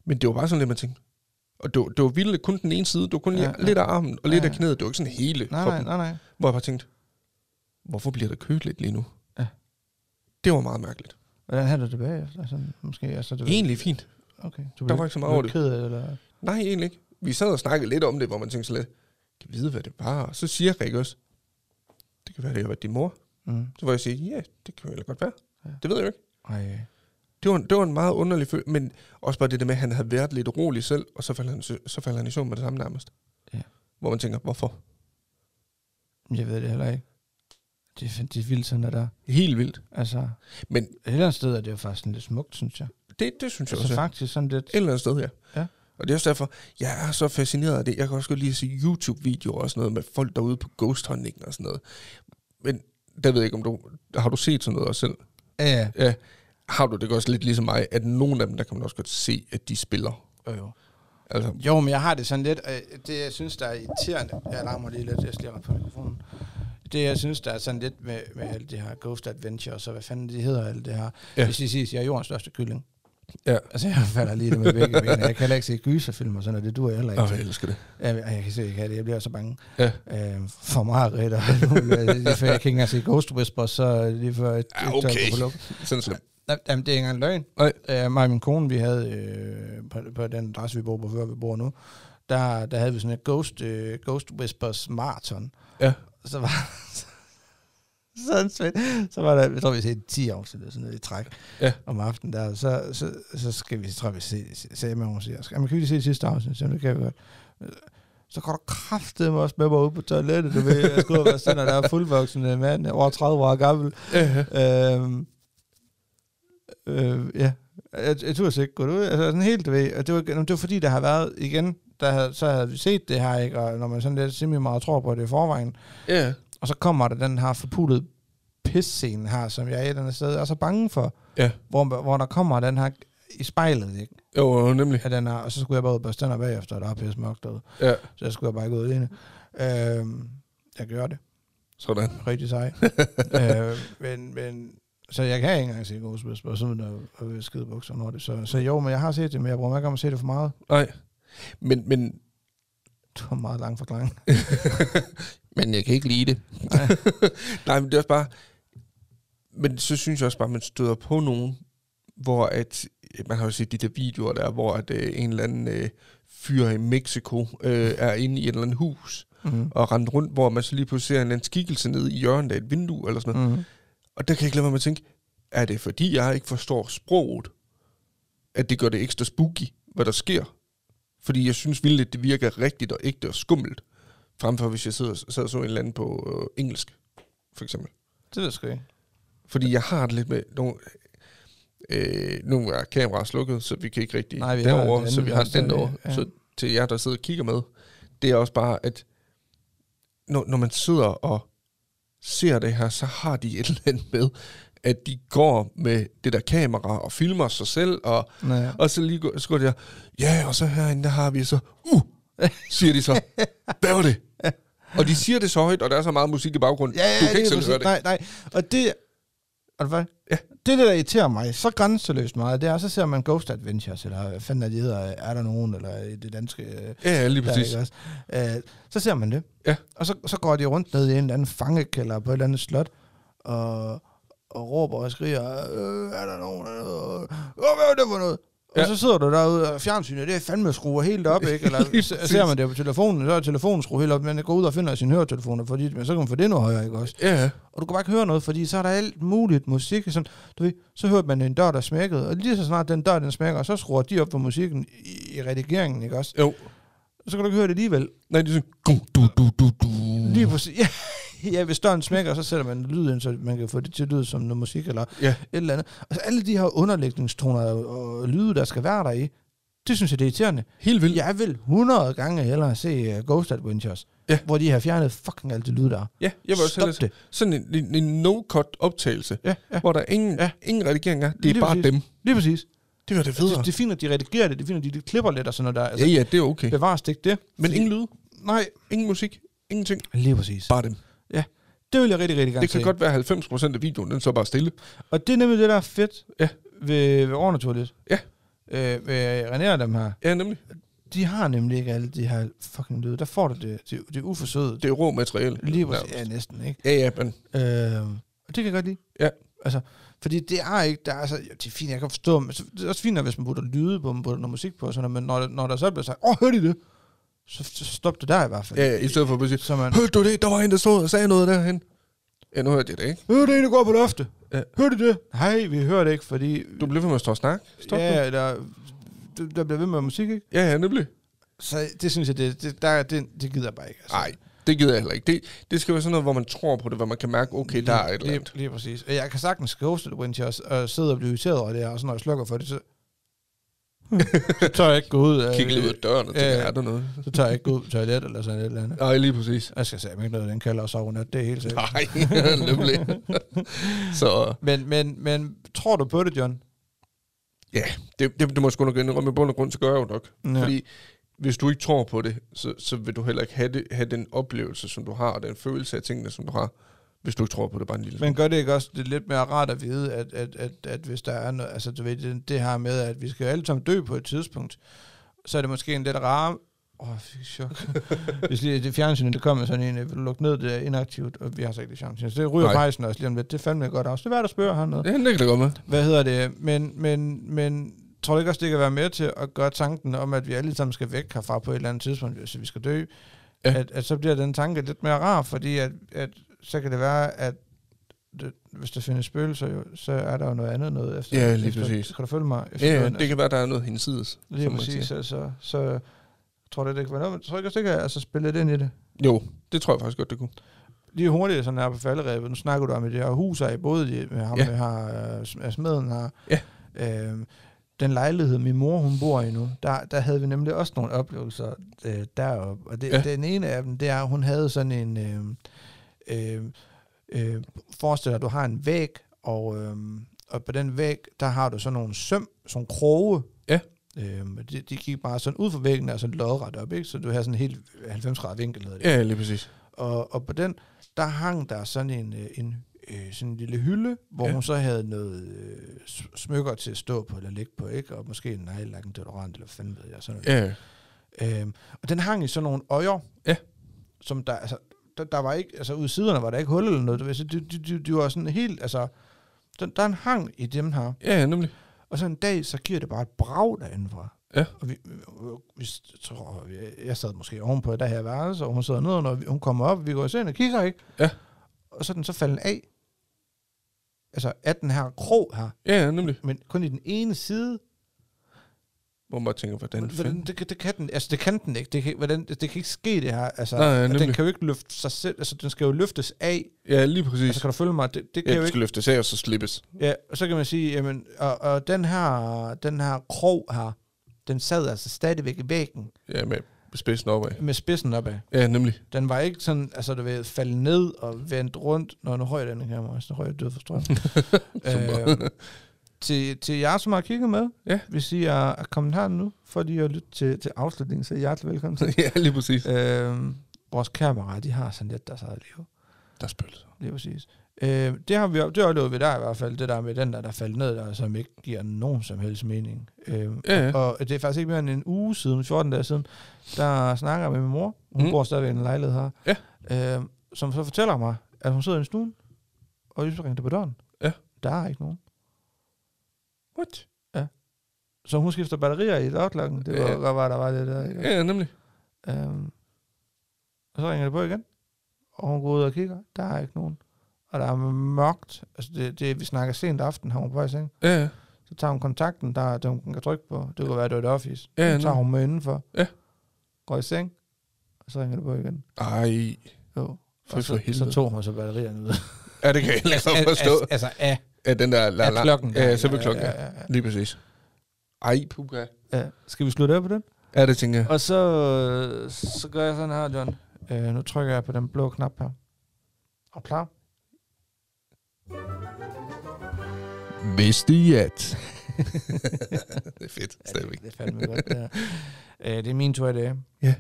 Speaker 2: Men det var bare sådan lidt, man tænkte. Og det var, det var vildt kun den ene side. Det var kun
Speaker 1: Ja,
Speaker 2: ja,
Speaker 1: ja.
Speaker 2: lidt af armen og lidt
Speaker 1: Ja,
Speaker 2: af
Speaker 1: ja.
Speaker 2: knæet. Det var ikke sådan hele
Speaker 1: Nej, nej,
Speaker 2: kroppen.
Speaker 1: nej, nej.
Speaker 2: Hvor jeg bare tænkte, hvorfor bliver der køligt lige nu?
Speaker 1: Ja.
Speaker 2: Det var meget mærkeligt.
Speaker 1: Hvordan havde du det tilbage? Altså, måske, altså, det
Speaker 2: Egentlig fint.
Speaker 1: Okay. Du
Speaker 2: var ikke så meget over det.
Speaker 1: Ked af, det, eller?
Speaker 2: Nej, egentlig ikke. Vi sad og snakkede lidt om det, hvor man tænkte så lidt, kan vide, hvad det var? Og så siger Rikke også, det kan være, det har været din mor.
Speaker 1: Mm.
Speaker 2: Så var jeg sige, ja, det kan jo heller godt være.
Speaker 1: Ja.
Speaker 2: Ja. Det ved jeg jo ikke.
Speaker 1: Ej.
Speaker 2: Det var, en- det var en meget underlig følelse, men også bare det der med, at han havde været lidt rolig selv, og så falder han, sø- så falder han i søvn med det samme nærmest.
Speaker 1: Ja.
Speaker 2: Hvor man tænker, hvorfor?
Speaker 1: Jeg ved det heller ikke. Det er, fan- det er vildt sådan, at der...
Speaker 2: Helt vildt.
Speaker 1: Altså,
Speaker 2: Men
Speaker 1: et eller andet sted er det jo faktisk sådan lidt smukt, synes jeg.
Speaker 2: det, det synes jeg
Speaker 1: Altså
Speaker 2: også. er-
Speaker 1: faktisk sådan lidt...
Speaker 2: Et eller andet sted, ja.
Speaker 1: Ja.
Speaker 2: Og det er også derfor, jeg er så fascineret af det. Jeg kan også godt lide at se YouTube-videoer og sådan noget med folk derude på ghost hunting og sådan noget. Men der ved jeg ikke, om du... Har du set sådan noget også selv?
Speaker 1: Ja,
Speaker 2: Ja. Har du det også lidt ligesom mig, at nogle af dem, der kan man også godt se, at de spiller?
Speaker 1: jo, jo.
Speaker 2: Altså,
Speaker 1: Jo, men jeg har det sådan lidt... øh, Det, jeg synes, der er irriterende... Jeg larmer lige lidt, jeg skal lige rette på mikrofonen. Det, jeg synes, der er sådan lidt med, med alt det her Ghost Adventure, og så hvad fanden det hedder, alt det her. Ja.
Speaker 2: Ja.
Speaker 1: Hvis I siger, at jeg er jordens største kylling.
Speaker 2: ja.
Speaker 1: Altså, jeg falder lige lidt med begge ben. Jeg kan heller ikke se gyserfilm og sådan noget. Det duer jeg heller ikke.
Speaker 2: Åh, jeg
Speaker 1: Okay.
Speaker 2: elsker det.
Speaker 1: Jeg, jeg kan se, jeg kan det. Jeg bliver så bange.
Speaker 2: Ja.
Speaker 1: øh, for meget ret, og alt muligt. Det er lige før jeg kan ikke engang se Ghost Whisperer, så lige før et,
Speaker 2: Ah,
Speaker 1: et tør
Speaker 2: okay.
Speaker 1: på luk.
Speaker 2: Sådan slemt.
Speaker 1: Nej, Jamen, det er ikke engang løgn.
Speaker 2: Nej.
Speaker 1: Øh, mig og min kone, vi havde øh, på, på, den adresse, vi bor på, før vi bor nu, der, der havde vi sådan et Ghost, øh, Ghost Whispers marathon.
Speaker 2: Ja.
Speaker 1: Så var sådan svært. Så var der, jeg tror, vi set 10 afsnit eller sådan noget i træk
Speaker 2: Ja.
Speaker 1: om aftenen der. Så, så, så skal vi, tror jeg, vi se, se med, hun siger, skal, "Jamen, kan vi lige se det sidste afsnit? Så det kan vi godt. Øh, Så går du kraftedeme også med mig ud på toilettet, du ved, jeg skulle være sådan, at der er fuldvoksen øh, mand, over 30 år gammel,
Speaker 2: Ja, ja.
Speaker 1: Øhm, øh, ja, jeg, jeg turde altså ikke gå ud. Altså sådan helt, du ved, og det var, det var fordi, der har været, igen, der havde, så havde vi set det her, ikke? og når man sådan lidt simpelthen meget tror på det i forvejen,
Speaker 2: ja.
Speaker 1: og så kommer der den her forpulede pisscene her, som jeg et eller andet sted er så bange for,
Speaker 2: ja.
Speaker 1: hvor, hvor der kommer den her i spejlet, ikke?
Speaker 2: Jo, jo, nemlig.
Speaker 1: Af den her, og så skulle jeg bare ud på stænder bagefter, og der er pisse mørkt derude,
Speaker 2: Ja,
Speaker 1: så jeg skulle bare ikke ud alene. Øhm, jeg gør det
Speaker 2: sådan.
Speaker 1: rigtig sej. øh, men, men, så jeg kan ikke engang se Ghostbusters, sådan der og skide bukser når det. Så, så jo, men jeg har set det, men jeg bruger mig ikke om at se det for meget.
Speaker 2: Nej. Men, men,
Speaker 1: Det var en meget lang forklaring.
Speaker 2: men jeg kan ikke lide det.
Speaker 1: Nej.
Speaker 2: Nej, men det er også bare... Men så synes jeg også bare, at man støder på nogen, hvor at... Man har jo set de der videoer der, hvor at, øh, en eller anden øh, fyr i Mexico øh, er inde i et eller andet hus
Speaker 1: Mm.
Speaker 2: og render rundt, hvor man så lige pludselig ser en eller anden skikkelse nede i hjørnet af et vindue eller sådan noget.
Speaker 1: Mm.
Speaker 2: Og der kan jeg ikke lade være med at tænke, er det fordi, jeg ikke forstår sproget, at det gør det ekstra spooky, hvad der sker? Fordi jeg synes vildt, at det virker rigtigt og ægte og skummelt, fremfor hvis jeg sidder, sad og så en eller anden på øh, engelsk, for eksempel.
Speaker 1: Det ved jeg sgu ikke.
Speaker 2: Fordi jeg har det lidt med nogle... Øh, nu er kameraet slukket, så vi kan ikke rigtig
Speaker 1: Nej,
Speaker 2: Nej,
Speaker 1: vi har
Speaker 2: derovre,
Speaker 1: den
Speaker 2: så vi
Speaker 1: anden
Speaker 2: har
Speaker 1: også,
Speaker 2: den
Speaker 1: så vi-
Speaker 2: derovre.
Speaker 1: ja.
Speaker 2: Ja. Så til jer, der sidder og kigger med, det er også bare, at når, når man sidder og ser det her, så har de et eller andet med, at de går med det der kamera og filmer sig selv, og,
Speaker 1: Nej.
Speaker 2: og så lige gå- så går de her, ja, og så herinde, der har vi så, uh, siger de så, hvad var det? Og de siger det så højt, og der er så meget musik i baggrunden, du kan ikke selv høre det.
Speaker 1: Nej, nej. Og det, og hvad?
Speaker 2: Ja.
Speaker 1: Det, er det, der irriterer mig så grænseløst meget, det er, så ser man Ghost Adventures, eller hvad fanden er de hedder, er der nogen, eller i det danske... øh,
Speaker 2: Ja, ja, lige
Speaker 1: der,
Speaker 2: præcis.
Speaker 1: ikke også? Øh, så ser man det.
Speaker 2: Ja.
Speaker 1: Og så, så går de rundt ned i en eller anden fangekælder på et eller andet slot, og, og råber og skriger, øh, er der nogen? Øh, hvad er det for noget? Ja.
Speaker 2: Ja.
Speaker 1: Og så sidder du derude, og fjernsynet, det er fandme skruer helt op, ikke? Eller
Speaker 2: Lige
Speaker 1: se-
Speaker 2: præcis.
Speaker 1: ser man det på telefonen, så er telefonen skruet helt op, men går ud og finder sine høretelefoner, fordi, men så kan man få det noget højere, ikke også?
Speaker 2: Ja, ja.
Speaker 1: og du kan bare ikke høre noget, fordi så er der alt muligt musik. og Sådan, du ved, så hørte man en dør, der smækkede, og lige så snart den dør, den smækker, så skruer de op for musikken i, i redigeringen, ikke også?
Speaker 2: Jo.
Speaker 1: Så kan du ikke høre det alligevel.
Speaker 2: Nej, det er sådan, du, du, du, du, du.
Speaker 1: Lige præcis. Ja, ja, hvis døren smækker, så sætter man lyd ind, så man kan få det til at lyde som noget musik eller et
Speaker 2: Ja,
Speaker 1: eller andet. Altså alle de her underlægningstoner og, og lyde, der skal være der i, det synes jeg, det er irriterende.
Speaker 2: helt vildt.
Speaker 1: Jeg vil 100 gange hellere se uh, Ghost Adventures,
Speaker 2: Ja.
Speaker 1: hvor de har fjernet fucking alt det lyd, der er.
Speaker 2: Ja, jeg vil også
Speaker 1: Stop
Speaker 2: hellere
Speaker 1: det.
Speaker 2: sådan en, en, en no-cut optagelse,
Speaker 1: Ja, ja,
Speaker 2: hvor der ingen,
Speaker 1: Ja.
Speaker 2: ja. ingen redigering er. Det er
Speaker 1: Lige
Speaker 2: bare
Speaker 1: præcis.
Speaker 2: dem.
Speaker 1: lige præcis.
Speaker 2: Det var det
Speaker 1: Altså, Det, det er fint, at de redigerer det, det er fint, at de, de klipper lidt og sådan noget der. Altså,
Speaker 2: Ja, ja, det er okay.
Speaker 1: Bevares det ikke det?
Speaker 2: Men ingen lyd,
Speaker 1: Nej,
Speaker 2: ingen musik, ingenting.
Speaker 1: lige præcis.
Speaker 2: Bare dem.
Speaker 1: Ja, Det vil jeg rigtig, rigtig gerne
Speaker 2: Det
Speaker 1: se.
Speaker 2: kan godt være, at 90% af videoen, den så bare stille.
Speaker 1: Og det er nemlig det, der er fedt
Speaker 2: Ja.
Speaker 1: ved, ved overnaturligt.
Speaker 2: Ja.
Speaker 1: Øh, ved René og dem her.
Speaker 2: Ja, nemlig.
Speaker 1: De har nemlig ikke alle de her fucking lyde. Der får du det, det, det uforsøget.
Speaker 2: Det er rå materiale.
Speaker 1: Lige præcis.
Speaker 2: nærmest.
Speaker 1: Ja, næsten, ikke?
Speaker 2: Ja, ja, men
Speaker 1: Øh, og det kan jeg godt lide.
Speaker 2: Ja.
Speaker 1: Altså, fordi det er ikke, der er så, jo, det er fint, jeg kan forstå, men så- det er også fint, at hvis man putter lyde på, man putter noget musik på, og sådan, noget, men når, der- når der så bliver sagt, åh, hørte I det? Så, så stop det der i hvert fald.
Speaker 2: ja, ja, i stedet for at bare sige,
Speaker 1: Så man,
Speaker 2: hørte du det? Der var en, der stod og sagde noget derhen. Ja, nu hørte jeg det, ikke?
Speaker 1: hørte det, der går på loftet?
Speaker 2: Ja.
Speaker 1: Hørte I det? Nej, vi hører det ikke, fordi...
Speaker 2: Du blev ved med at stå og snakke. Stop nu.
Speaker 1: ja, der, der, der bliver ved med musik, ikke?
Speaker 2: Ja, ja, nemlig.
Speaker 1: Altså- Så det synes jeg, det, det, der, det, det gider jeg bare ikke. altså.
Speaker 2: Nej, det gider jeg heller ikke. Det, det skal være sådan noget, hvor man tror på det, hvor man kan mærke, okay, der er et eller
Speaker 1: lige,
Speaker 2: andet.
Speaker 1: lige, præcis. Og Jeg kan sagtens ghoste det, mens jeg s- og sidder og bliver irriteret over det her, og så når jeg slukker for det, så... så tør jeg ikke gå ud af...
Speaker 2: Kigge lige ud af døren og
Speaker 1: Ja,
Speaker 2: tænke,
Speaker 1: ja.
Speaker 2: er der noget?
Speaker 1: Så tør jeg ikke gå ud på toilet eller sådan et eller andet.
Speaker 2: Øh, Nej, lige præcis.
Speaker 1: Jeg skal sige, ikke noget, den kalder os overnat, det er helt sikkert.
Speaker 2: Nej, nemlig. Så
Speaker 1: Men, men, men tror du på det, John?
Speaker 2: ja, det, det, det må jeg sgu nok indrømme. I bund og grund, så gør jeg jo nok. Ja. Fordi hvis du ikke tror på det, så, så vil du heller ikke have, det, have den oplevelse, som du har, og den følelse af tingene, som du har, hvis du ikke tror på det bare en lille
Speaker 1: Men gør det ikke også det er lidt mere rart at vide, at, at, at, at hvis der er noget, altså du ved, det, det her med, at vi skal alle sammen dø på et tidspunkt, så er det måske en lidt rar... Åh, oh, fik chok. hvis lige det fjernsynet, det kommer sådan en, øh, vil du lukke ned, det er inaktivt, og vi har så ikke det chance. Så det ryger
Speaker 2: Nej.
Speaker 1: pejsen også lige om lidt. Det er fandme et godt også. Det er værd at spørge hernede.
Speaker 2: Ja, det kan det godt med.
Speaker 1: Hvad hedder det? Men, men, men tror du ikke også, det kan være med til at gøre tanken om, at vi alle sammen skal væk herfra på et eller andet tidspunkt, hvis vi skal dø?
Speaker 2: Ja.
Speaker 1: Ja. At, at så bliver den tanke lidt mere rar, fordi at, at så kan det være, at det, hvis der findes spøgelser, jo, så er der jo noget andet noget efter.
Speaker 2: Ja, lige
Speaker 1: efter,
Speaker 2: præcis.
Speaker 1: Kan du følge mig?
Speaker 2: Ja, ja,
Speaker 1: døden?
Speaker 2: det kan være, der er noget hinsides.
Speaker 1: Lige
Speaker 2: som man siger.
Speaker 1: præcis, altså. Så tror du, det kan være noget, men tror du ikke også, det kan altså, spille lidt ind i det?
Speaker 2: Jo, det tror jeg faktisk godt, det kunne.
Speaker 1: lige hurtigt sådan her på falderæbet, nu snakker du om det her hus her i både de- med ham,
Speaker 2: Ja.
Speaker 1: ja. her, øh, sm- smeden her.
Speaker 2: Ja.
Speaker 1: Øhm, den lejlighed, min mor hun bor i nu, der, der havde vi nemlig også nogle oplevelser øh, deroppe. Og det,
Speaker 2: Ja.
Speaker 1: ja. den ene af dem, det er, at hun havde sådan en... Øh, øh, øh, forestil dig, at du har en væg, og, øh, og på den væg, der har du sådan nogle søm, sådan nogle kroge.
Speaker 2: Ja.
Speaker 1: Øhm, de, de gik bare sådan ud for væggen og sådan lodret op, ikke? Så du har sådan en helt 90 grad vinkel. hedder det.
Speaker 2: Ja, lige præcis.
Speaker 1: Og, og på den, der hang der sådan en, øh, en, øh, sådan en lille hylde, hvor
Speaker 2: Ja.
Speaker 1: ja. hun så havde noget øh, s- smykker til at stå på eller ligge på, ikke? Og måske en nejlak, en deodorant, eller hvad fanden ved jeg. Sådan noget.
Speaker 2: Ja,
Speaker 1: Øhm, og den hang i sådan nogle øjer,
Speaker 2: Ja.
Speaker 1: som der, altså, der, der var ikke, altså ude i siderne var der ikke hul eller noget, du ved, så de, de, de, de var sådan helt, altså, den, der er en hang i dem her.
Speaker 2: ja nemlig.
Speaker 1: Og så en dag, så giver det bare et brag derindefra.
Speaker 2: Ja.
Speaker 1: Og vi, vi, tror, vi, jeg sad måske ovenpå i det her værelse, og hun sidder nedenunder, og vi- hun kommer op, vi går i seng og kigger, ikke?
Speaker 2: Ja.
Speaker 1: Og så er den så falden af. Altså af den her krog her,
Speaker 2: Ja, nemlig.
Speaker 1: men kun i den ene side.
Speaker 2: Hvor man bare tænker, hvordan
Speaker 1: Hvordan,
Speaker 2: fanden?
Speaker 1: det, kan- det, kan den, altså det kan den ikke. Det kan, hvordan, det, det kan ikke ske det her. Altså,
Speaker 2: Nej, ja,
Speaker 1: at den
Speaker 2: nemlig.
Speaker 1: kan jo ikke løfte sig selv. Altså den skal jo løftes af.
Speaker 2: Ja, lige præcis.
Speaker 1: Altså kan du følge mig? Det, det kan
Speaker 2: ja,
Speaker 1: jo
Speaker 2: du
Speaker 1: ikke
Speaker 2: skal løftes af, og så slippes.
Speaker 1: Ja, og så kan man sige, jamen, og, og den her, den her krog her, den sad altså stadigvæk i væggen
Speaker 2: Ja, med spidsen opad.
Speaker 1: med spidsen opad.
Speaker 2: Ja, nemlig.
Speaker 1: Den var ikke sådan, altså du ved, falde ned og vendt rundt, når nu højt den her mig, så højt død for strøm. øh, til, til jer, som har kigget med,
Speaker 2: Ja.
Speaker 1: hvis I er, er kommet her nu, for lige at lytte til, til afslutningen, så er I hjertelig velkommen til.
Speaker 2: ja, lige præcis.
Speaker 1: øh, vores kamera, de har sådan lidt deres eget liv.
Speaker 2: Der er spøgelser.
Speaker 1: Lige præcis. Øh, det har vi det oplevede vi der i hvert fald, det der med den der, der faldt ned der, som ikke giver nogen som helst mening. Øh,
Speaker 2: Ja, ja.
Speaker 1: og det er faktisk ikke mere end en uge siden, 14 dage siden, der snakker jeg med min mor, hun
Speaker 2: Mm.
Speaker 1: mm. bor stadigvæk i en lejlighed her, ja. øh, som så fortæller mig, at hun sidder i stuen, og lige så ringer det på døren.
Speaker 2: Ja.
Speaker 1: Der er ikke nogen.
Speaker 2: What?
Speaker 1: Så hun skifter batterier i dørklokken. Det var
Speaker 2: Ja.
Speaker 1: ja. godt, være, der var det der. Ikke?
Speaker 2: Ja, nemlig.
Speaker 1: Øhm, og så ringer det på igen, og hun går ud og kigger. Der er ikke nogen. Og der er mørkt. Altså, det, det vi snakker sent aften, har hun på vej i seng.
Speaker 2: Ja, ja.
Speaker 1: Så tager hun kontakten, der er, den hun kan trykke på. Det kunne være, det var et office.
Speaker 2: Ja,
Speaker 1: så tager
Speaker 2: nå.
Speaker 1: hun med indenfor.
Speaker 2: Ja.
Speaker 1: Går i seng, og så ringer det på igen.
Speaker 2: Ej,
Speaker 1: Jo.
Speaker 2: for,
Speaker 1: Og
Speaker 2: for
Speaker 1: så,
Speaker 2: helvede.
Speaker 1: så tog hun så batterierne ud.
Speaker 2: Ja, det kan jeg heller ikke forstå.
Speaker 1: altså, altså af,
Speaker 2: Ja, den der... La, la,
Speaker 1: af klokken. der.
Speaker 2: Ja, så ved klokken. Ja,
Speaker 1: ja, ja.
Speaker 2: Lige præcis. Ej, puka.
Speaker 1: ja. Skal vi slutte af på den?
Speaker 2: Ja, det tænker jeg.
Speaker 1: Og så, øh, så gør jeg sådan her, John. Øh, nu trykker jeg på den blå knap her. Og klar.
Speaker 2: Vidste I at... det er fedt,
Speaker 1: Ja,
Speaker 2: stadigvæk.
Speaker 1: Det, det er fandme godt, det her. Øh, det er min tur i dag.
Speaker 2: Ja.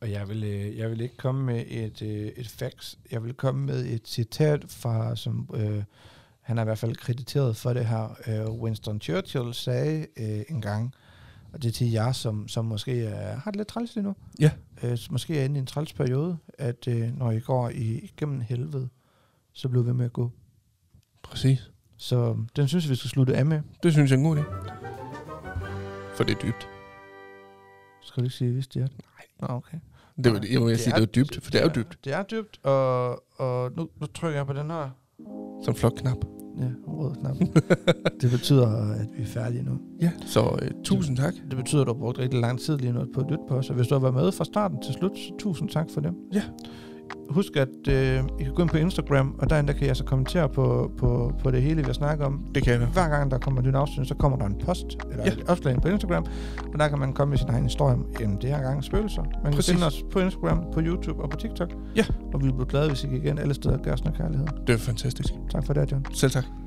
Speaker 1: Og jeg vil, øh, jeg vil ikke komme med et, øh, et fax. Jeg vil komme med et citat fra, som øh, han er i hvert fald krediteret for det her, øh, Winston Churchill sagde øh, en gang, og det er til jer, som, som måske er, har det lidt træls lige nu,
Speaker 2: Ja.
Speaker 1: øh, som måske er inde i en træls periode, at øh, når I går i, igennem helvede, så bliver vi ved med at gå.
Speaker 2: Præcis.
Speaker 1: Så øh, den synes jeg, vi skal slutte af med.
Speaker 2: Det synes jeg er en god idé. For det er dybt.
Speaker 1: Skal du ikke sige, hvis det er det? Nej. Nå, okay.
Speaker 2: Det var, jeg må jeg sige, det er jo dybt, for det er jo dybt.
Speaker 1: Det er dybt, og, og nu, nu trykker jeg på den her.
Speaker 2: Som flot knap.
Speaker 1: Ja, rød knap. det betyder, at vi er færdige nu.
Speaker 2: Ja, så øh, tusind tak.
Speaker 1: Det betyder, at du har brugt rigtig lang tid lige nu på at lytte på os. Og hvis du har været med fra starten til slut, så tusind tak for det.
Speaker 2: Ja.
Speaker 1: Husk, at øh, I kan gå ind på Instagram, og derinde der kan jeg så kommentere på, på, på det hele, vi har snakket om.
Speaker 2: Det kan jeg.
Speaker 1: Hver gang der kommer en ny afsnit, så kommer der en post, eller
Speaker 2: Ja.
Speaker 1: ja. et opslag ind på Instagram, og der kan man komme med sin egen historie om jamen, det her gang spøgelser. Man kan
Speaker 2: Præcis.
Speaker 1: finde os på Instagram, på YouTube og på TikTok.
Speaker 2: Ja.
Speaker 1: Og vi bliver glade, hvis I kan igen alle steder gør os noget kærlighed.
Speaker 2: Det er fantastisk.
Speaker 1: Tak for det, John.
Speaker 2: Selv tak.